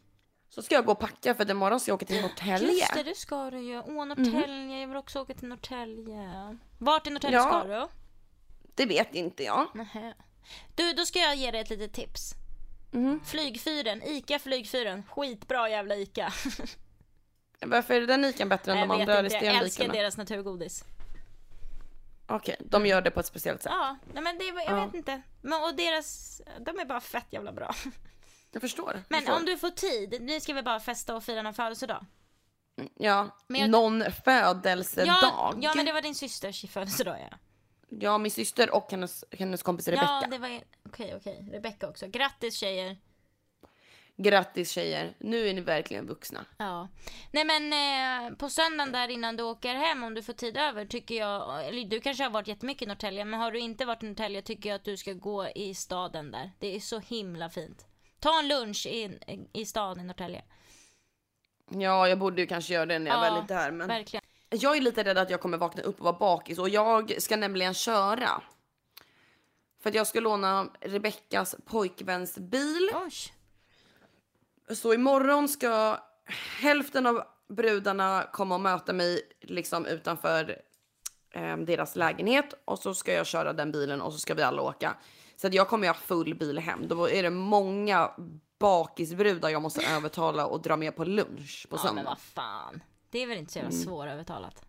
[SPEAKER 1] Så ska jag gå och packa för att imorgon ska jag åka till Norrtälje.
[SPEAKER 2] Just det, det ska du ju. Åh, Norrtälje. Jag vill också åka till Norrtälje. Vart i Norrtälje
[SPEAKER 1] Mhm. Ja.
[SPEAKER 2] ska du?
[SPEAKER 1] Det vet inte jag.
[SPEAKER 2] Nähä. Du, då ska jag ge dig ett litet tips.
[SPEAKER 1] Mhm.
[SPEAKER 2] Flygfyren, ICA Flygfyren. Skitbra jävla ICA.
[SPEAKER 1] Varför är den ikan bättre än
[SPEAKER 2] jag
[SPEAKER 1] de
[SPEAKER 2] vet
[SPEAKER 1] andra
[SPEAKER 2] inte, jag älskar
[SPEAKER 1] resterande
[SPEAKER 2] deras naturgodis.
[SPEAKER 1] Okej, de gör det på ett speciellt sätt.
[SPEAKER 2] Ja, nej men det, jag
[SPEAKER 1] Ja.
[SPEAKER 2] vet inte. Men, och deras, de är bara fett jävla bra.
[SPEAKER 1] Jag förstår. jag
[SPEAKER 2] Men
[SPEAKER 1] förstår.
[SPEAKER 2] om du får tid, nu ska vi bara festa och fira någon födelsedag.
[SPEAKER 1] Ja,
[SPEAKER 2] Men jag-
[SPEAKER 1] någon födelsedag.
[SPEAKER 2] Ja, ja men det var din systers födelsedag ja.
[SPEAKER 1] Ja, min syster och hennes, hennes kompis Rebecka.
[SPEAKER 2] Ja, det var... Okej, okej. Rebecca också. Grattis tjejer.
[SPEAKER 1] Grattis tjejer, nu är ni verkligen vuxna.
[SPEAKER 2] Ja. Nej men eh, på söndagen där innan du åker hem om du får tid över tycker jag, eller du kanske har varit jättemycket i Norrtälje men har du inte varit i Norrtälje tycker jag att du ska gå i staden där. Det är så himla fint. Ta en lunch i, i staden i Norrtälje.
[SPEAKER 1] Ja, jag borde ju kanske göra det när jag
[SPEAKER 2] Ja,
[SPEAKER 1] väl är där. Men
[SPEAKER 2] Verkligen.
[SPEAKER 1] jag är lite rädd att jag kommer vakna upp och vara bakis och jag ska nämligen köra. För att jag ska låna Rebeckas pojkväns bil.
[SPEAKER 2] Oj.
[SPEAKER 1] Så imorgon ska hälften av brudarna komma och möta mig liksom utanför eh, deras lägenhet och så ska jag köra den bilen och så ska vi alla åka. Så att jag kommer ju ha full bil hem. Då är det många bakisbrudar jag måste övertala och dra med på lunch på
[SPEAKER 2] Ja men
[SPEAKER 1] söndag.
[SPEAKER 2] vad fan. Det är väl inte så
[SPEAKER 1] Mm.
[SPEAKER 2] jävla svårövertalat.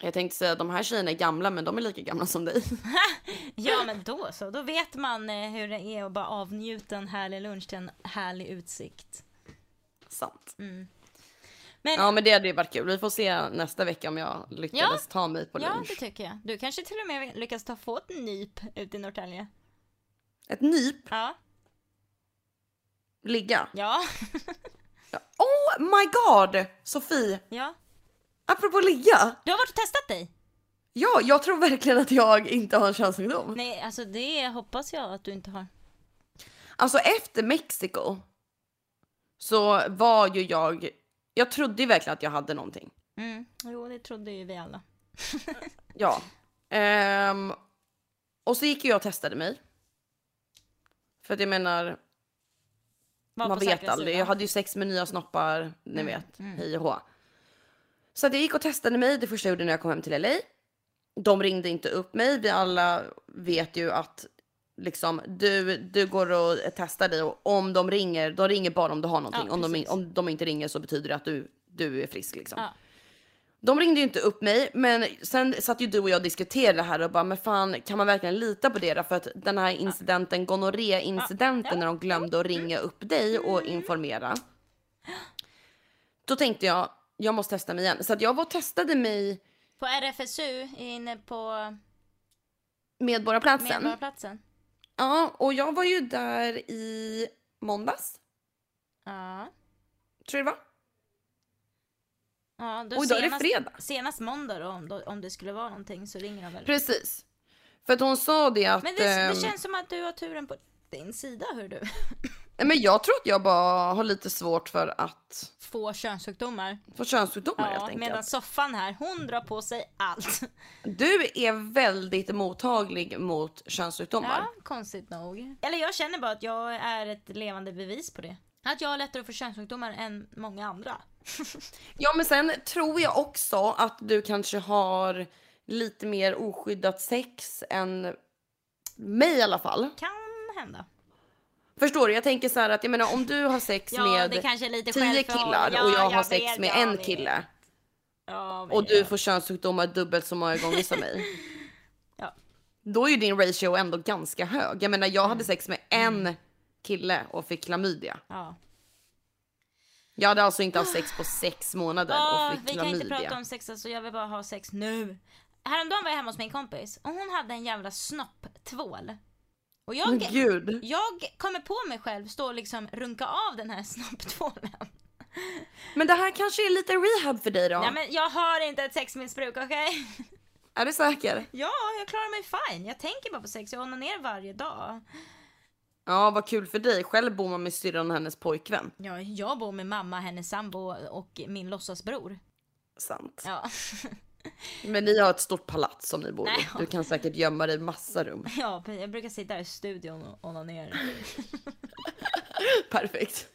[SPEAKER 1] Jag tänkte säga att de här tjejerna är gamla men de är lika gamla som dig.
[SPEAKER 2] Ja men då så, då vet man eh, hur det är att bara avnjuta en härlig lunch till en härlig utsikt.
[SPEAKER 1] Sant.
[SPEAKER 2] Mm. Men
[SPEAKER 1] Ja men det hade ju varit kul. Vi får se nästa vecka om jag lyckades ta mig på
[SPEAKER 2] Ja, det
[SPEAKER 1] lunch.
[SPEAKER 2] tycker jag. Du kanske till och med lyckas ta få ett nyp ute i Norrtälje.
[SPEAKER 1] Ett nyp,
[SPEAKER 2] Ja.
[SPEAKER 1] ligga.
[SPEAKER 2] Ja.
[SPEAKER 1] Ja. Oh my god! Sofie,
[SPEAKER 2] ja.
[SPEAKER 1] apropå ligga.
[SPEAKER 2] Du har varit och testat dig.
[SPEAKER 1] Ja, jag tror verkligen att jag inte har en könssjukdom.
[SPEAKER 2] Nej, alltså det hoppas jag att du inte har.
[SPEAKER 1] Alltså efter Mexiko så var ju jag, jag trodde ju verkligen att jag hade någonting.
[SPEAKER 2] Mm. Jo, det trodde ju vi alla.
[SPEAKER 1] Ja. Ehm, och så gick ju jag och testade mig. För att jag menar,
[SPEAKER 2] Var
[SPEAKER 1] man
[SPEAKER 2] på
[SPEAKER 1] vet
[SPEAKER 2] säkra
[SPEAKER 1] aldrig.
[SPEAKER 2] sidan.
[SPEAKER 1] Jag hade ju sex med nya snoppar, ni vet, hej och hå. Så att jag gick och testade mig det första jag gjorde när jag kom hem till LA. De ringde inte upp mig. Vi alla vet ju att liksom, du, du går och testar dig och om de ringer, de ringer bara om du har någonting.
[SPEAKER 2] Ja,
[SPEAKER 1] om, de,
[SPEAKER 2] precis.
[SPEAKER 1] om de inte ringer så betyder det att du, du är frisk liksom.
[SPEAKER 2] Ja.
[SPEAKER 1] De ringde ju inte upp mig, men sen satt ju du och jag och diskuterade det här och bara, men fan kan man verkligen lita på det? då? För att den här incidenten, gonorré-incidenten när de glömde att ringa upp dig och
[SPEAKER 2] Mm.
[SPEAKER 1] informera. Då tänkte jag, jag måste testa mig igen. Så att jag var och testade mig
[SPEAKER 2] På RFSU, inne på
[SPEAKER 1] Medborgarplatsen.
[SPEAKER 2] Medborgarplatsen.
[SPEAKER 1] Ja, och jag var ju där i måndags,
[SPEAKER 2] Ja.
[SPEAKER 1] tror jag det var.
[SPEAKER 2] ja då
[SPEAKER 1] Och idag är det fredag.
[SPEAKER 2] Senast måndag då, om, då, om det skulle vara någonting så ringer de väl.
[SPEAKER 1] Precis. För att hon sa det att...
[SPEAKER 2] Men det,
[SPEAKER 1] ehm,
[SPEAKER 2] det känns som att du har turen på din sida, hör du.
[SPEAKER 1] nej, men jag tror att jag bara har lite svårt för att
[SPEAKER 2] Få könssjukdomar.
[SPEAKER 1] få könssjukdomar helt
[SPEAKER 2] Ja,
[SPEAKER 1] enkelt.
[SPEAKER 2] medan soffan här, hon drar på sig allt.
[SPEAKER 1] Du är väldigt mottaglig mot könssjukdomar.
[SPEAKER 2] Ja, konstigt nog. Eller jag känner bara att jag är ett levande bevis på det. Att jag har lättare för könssjukdomar än många andra.
[SPEAKER 1] Ja, men sen tror jag också att du kanske har lite mer oskyddat sex än mig i alla fall.
[SPEAKER 2] Kan hända.
[SPEAKER 1] Förstår du? Jag tänker så här att jag menar om du har sex
[SPEAKER 2] Ja, det
[SPEAKER 1] med
[SPEAKER 2] kanske är lite
[SPEAKER 1] tio
[SPEAKER 2] självförhållande.
[SPEAKER 1] killar
[SPEAKER 2] Ja,
[SPEAKER 1] och jag, har
[SPEAKER 2] vet,
[SPEAKER 1] sex med
[SPEAKER 2] ja,
[SPEAKER 1] en
[SPEAKER 2] vet.
[SPEAKER 1] kille
[SPEAKER 2] Ja,
[SPEAKER 1] och
[SPEAKER 2] vet.
[SPEAKER 1] du får könssjukdomar dubbelt så många gånger som mig.
[SPEAKER 2] Ja.
[SPEAKER 1] Då är ju din ratio ändå ganska hög. Jag menar jag
[SPEAKER 2] Mm.
[SPEAKER 1] hade sex med en kille och fick klamydia.
[SPEAKER 2] Ja.
[SPEAKER 1] Jag hade alltså inte haft sex på sex månader
[SPEAKER 2] Åh,
[SPEAKER 1] och fick
[SPEAKER 2] Ah, vi kan inte
[SPEAKER 1] klamydia.
[SPEAKER 2] prata om sex, alltså, jag vill bara ha sex nu. Häromdagen var jag hemma hos min kompis och hon hade en jävla snopptvål. Och
[SPEAKER 1] Men
[SPEAKER 2] jag,
[SPEAKER 1] gud.
[SPEAKER 2] jag kommer på mig själv stå och liksom runka av den här snopptvålen.
[SPEAKER 1] Men det här kanske är lite rehab för dig då?
[SPEAKER 2] Nej men jag har inte ett sexmissbruk okej?
[SPEAKER 1] Är du säker?
[SPEAKER 2] Ja, jag klarar mig fine. Jag tänker bara på sex, jag onanerar varje dag.
[SPEAKER 1] Ja, vad kul för dig. Själv bor man med syrran och hennes pojkvän.
[SPEAKER 2] Ja, jag bor med mamma, hennes sambo och min låtsasbror.
[SPEAKER 1] Sant.
[SPEAKER 2] Ja.
[SPEAKER 1] Men ni har ett stort palats som ni bor i.
[SPEAKER 2] Nej.
[SPEAKER 1] Du kan säkert gömma dig i massa rum.
[SPEAKER 2] ja, jag brukar sitta i studion och onanera.
[SPEAKER 1] Perfekt.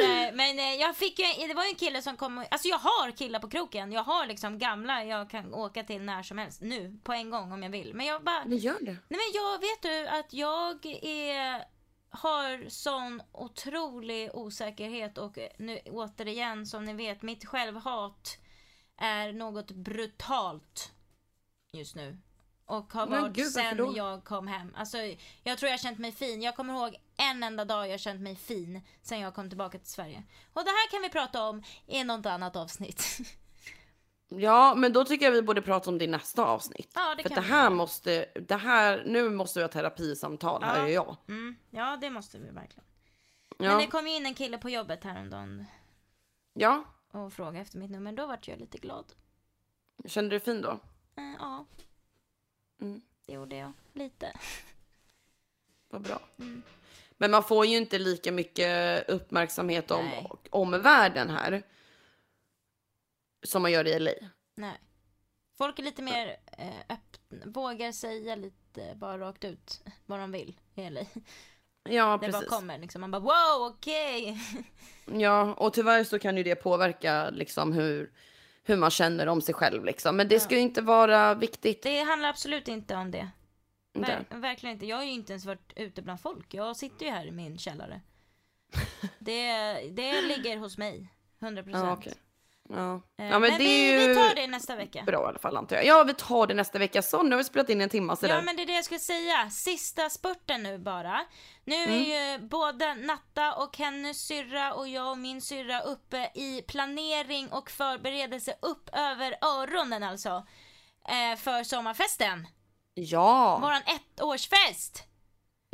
[SPEAKER 2] Nej, men eh, jag fick ju, det var ju en kille som kom och, alltså jag har killar på kroken. Jag har liksom gamla jag kan åka till när som helst nu på en gång om jag vill. Men jag bara,
[SPEAKER 1] Ni gör det.
[SPEAKER 2] nej men jag vet du att jag är, har sån otrolig osäkerhet och eh, nu återigen som ni vet mitt självhat är något brutalt just nu. Och har
[SPEAKER 1] Men
[SPEAKER 2] varit
[SPEAKER 1] gud, varför
[SPEAKER 2] sen
[SPEAKER 1] då?
[SPEAKER 2] jag kom hem. Alltså, jag tror jag har känt mig fin. Jag kommer ihåg en enda dag jag har känt mig fin sen jag kom tillbaka till Sverige. Och det här kan vi prata om i något annat avsnitt.
[SPEAKER 1] Ja, men då tycker jag vi borde prata om det i nästa avsnitt.
[SPEAKER 2] ja, det
[SPEAKER 1] för
[SPEAKER 2] kan
[SPEAKER 1] det
[SPEAKER 2] vi.
[SPEAKER 1] här måste, det här, nu måste vi ha terapisamtal, här
[SPEAKER 2] Ja.
[SPEAKER 1] är jag.
[SPEAKER 2] Mm, ja, det måste vi verkligen. Men det
[SPEAKER 1] Ja,
[SPEAKER 2] kom ju in en kille på jobbet häromdagen
[SPEAKER 1] ja.
[SPEAKER 2] och frågade efter mitt nummer. Då vart jag lite glad.
[SPEAKER 1] kände du dig fin då?
[SPEAKER 2] Eh, ja,
[SPEAKER 1] Mm,
[SPEAKER 2] det gjorde jag. Lite.
[SPEAKER 1] vad bra.
[SPEAKER 2] Mm.
[SPEAKER 1] Men man får ju inte lika mycket uppmärksamhet om,
[SPEAKER 2] Nej.
[SPEAKER 1] om världen här. Som man gör i LA.
[SPEAKER 2] Nej. Folk är lite mer eh, öppna, vågar säga lite bara rakt ut vad de vill i LA.
[SPEAKER 1] Ja,
[SPEAKER 2] Det bara
[SPEAKER 1] precis.
[SPEAKER 2] kommer liksom. Man bara wow, okej.
[SPEAKER 1] Ja, och tyvärr så kan ju det påverka liksom hur, hur man känner om sig själv. Liksom. Men det ska ju inte vara viktigt.
[SPEAKER 2] Det handlar absolut inte om det.
[SPEAKER 1] inte.
[SPEAKER 2] Ver- verkligen inte. Jag har ju inte ens varit ute bland folk. Jag sitter ju här i min källare. Det, det ligger hos mig. 100%.
[SPEAKER 1] Ja, okej. Ja.
[SPEAKER 2] Eh,
[SPEAKER 1] ja, men, det
[SPEAKER 2] vi,
[SPEAKER 1] är ju
[SPEAKER 2] vi tar det nästa vecka.
[SPEAKER 1] bra i alla fall antar jag. Ja, vi tar det nästa vecka. Så, nu har vi spelat in en timma sådär.
[SPEAKER 2] Ja men det är det jag skulle säga. Sista spurten nu bara. Nu
[SPEAKER 1] Mm.
[SPEAKER 2] är ju både Natta och hennes syrra och jag och min syrra uppe i planering och förberedelse upp över öronen alltså. Eh, för sommarfesten.
[SPEAKER 1] Ja.
[SPEAKER 2] Våran ettårsfest.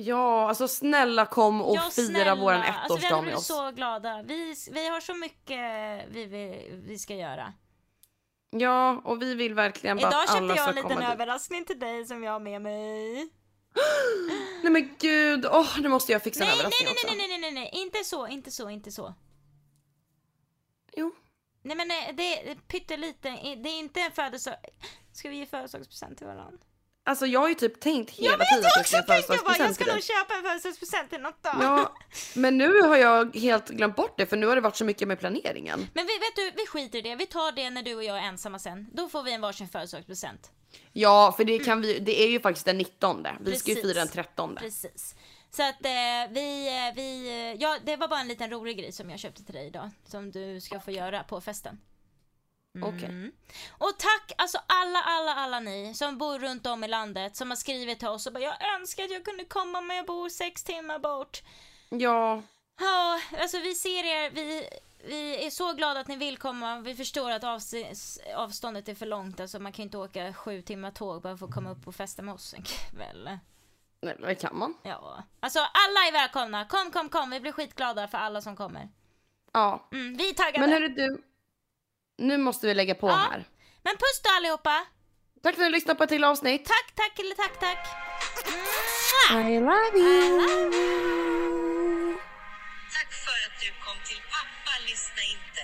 [SPEAKER 1] ja, alltså snälla kom och
[SPEAKER 2] Ja,
[SPEAKER 1] fira våran
[SPEAKER 2] Alltså,
[SPEAKER 1] ettårsdag
[SPEAKER 2] vi hade
[SPEAKER 1] med
[SPEAKER 2] blivit
[SPEAKER 1] oss.
[SPEAKER 2] så glada. Vi, vi har så mycket vi, vi, vi ska göra.
[SPEAKER 1] Ja, och vi vill verkligen bara
[SPEAKER 2] Idag
[SPEAKER 1] att
[SPEAKER 2] köpte
[SPEAKER 1] alla
[SPEAKER 2] jag
[SPEAKER 1] ska
[SPEAKER 2] en
[SPEAKER 1] komma
[SPEAKER 2] liten
[SPEAKER 1] dit.
[SPEAKER 2] överraskning till dig som jag har med mig.
[SPEAKER 1] Nej men gud, åh nu måste jag fixa en
[SPEAKER 2] Nej, nej,
[SPEAKER 1] överraskning
[SPEAKER 2] nej,
[SPEAKER 1] också.
[SPEAKER 2] nej, nej, nej, nej, nej, inte så, inte så, inte så.
[SPEAKER 1] Jo.
[SPEAKER 2] Nej men eh, det är pyttelite, eh, det är inte en födelsedag. Ska vi ge födelsedagspresent till varandra?
[SPEAKER 1] Alltså jag har ju typ tänkt hela
[SPEAKER 2] Jag vet,
[SPEAKER 1] tiden
[SPEAKER 2] jag
[SPEAKER 1] att
[SPEAKER 2] också
[SPEAKER 1] jag
[SPEAKER 2] tänkte jag bara, jag
[SPEAKER 1] födelsedagspresent till
[SPEAKER 2] ska nog
[SPEAKER 1] dig.
[SPEAKER 2] köpa en födelsedagspresent till något då.
[SPEAKER 1] Ja, men nu har jag helt glömt bort det för nu har det varit så mycket med planeringen.
[SPEAKER 2] Men vi, vet du, vi skiter i det, vi tar det när du och jag är ensamma sen. Då får vi en varsin födelsedagspresent.
[SPEAKER 1] Ja, för det, kan vi, det är ju faktiskt den 19. Vi ska ju
[SPEAKER 2] Precis.
[SPEAKER 1] fira den 13.
[SPEAKER 2] Precis. Så att eh, vi, eh, vi, eh, ja det var bara en liten rolig grej som jag köpte till dig idag. Som du ska få göra på festen.
[SPEAKER 1] Okej.
[SPEAKER 2] Mm. Och tack alltså alla, alla, alla ni som bor runt om i landet som har skrivit till oss och bara jag önskar att jag kunde komma men jag bor sex timmar bort.
[SPEAKER 1] Ja,
[SPEAKER 2] Ja, alltså vi ser er, vi, vi är så glada att ni vill komma. Vi förstår att avs- avståndet är för långt, alltså man kan ju inte åka sju timmar tåg bara för att komma upp och festa med oss en kväll.
[SPEAKER 1] nej, det kan man.
[SPEAKER 2] Ja, alltså alla är välkomna. Kom, kom, kom. Vi blir skitglada för alla som kommer.
[SPEAKER 1] Ja,
[SPEAKER 2] Mm, vi är taggade.
[SPEAKER 1] men
[SPEAKER 2] Men,
[SPEAKER 1] hörru du. Nu måste vi lägga på
[SPEAKER 2] Ja.
[SPEAKER 1] här.
[SPEAKER 2] puss då allihopa.
[SPEAKER 1] Tack för att ni lyssnade på ett till avsnitt.
[SPEAKER 2] Tack, tack eller tack, tack.
[SPEAKER 1] I love
[SPEAKER 3] Tack för att du kom till pappa, lyssna inte.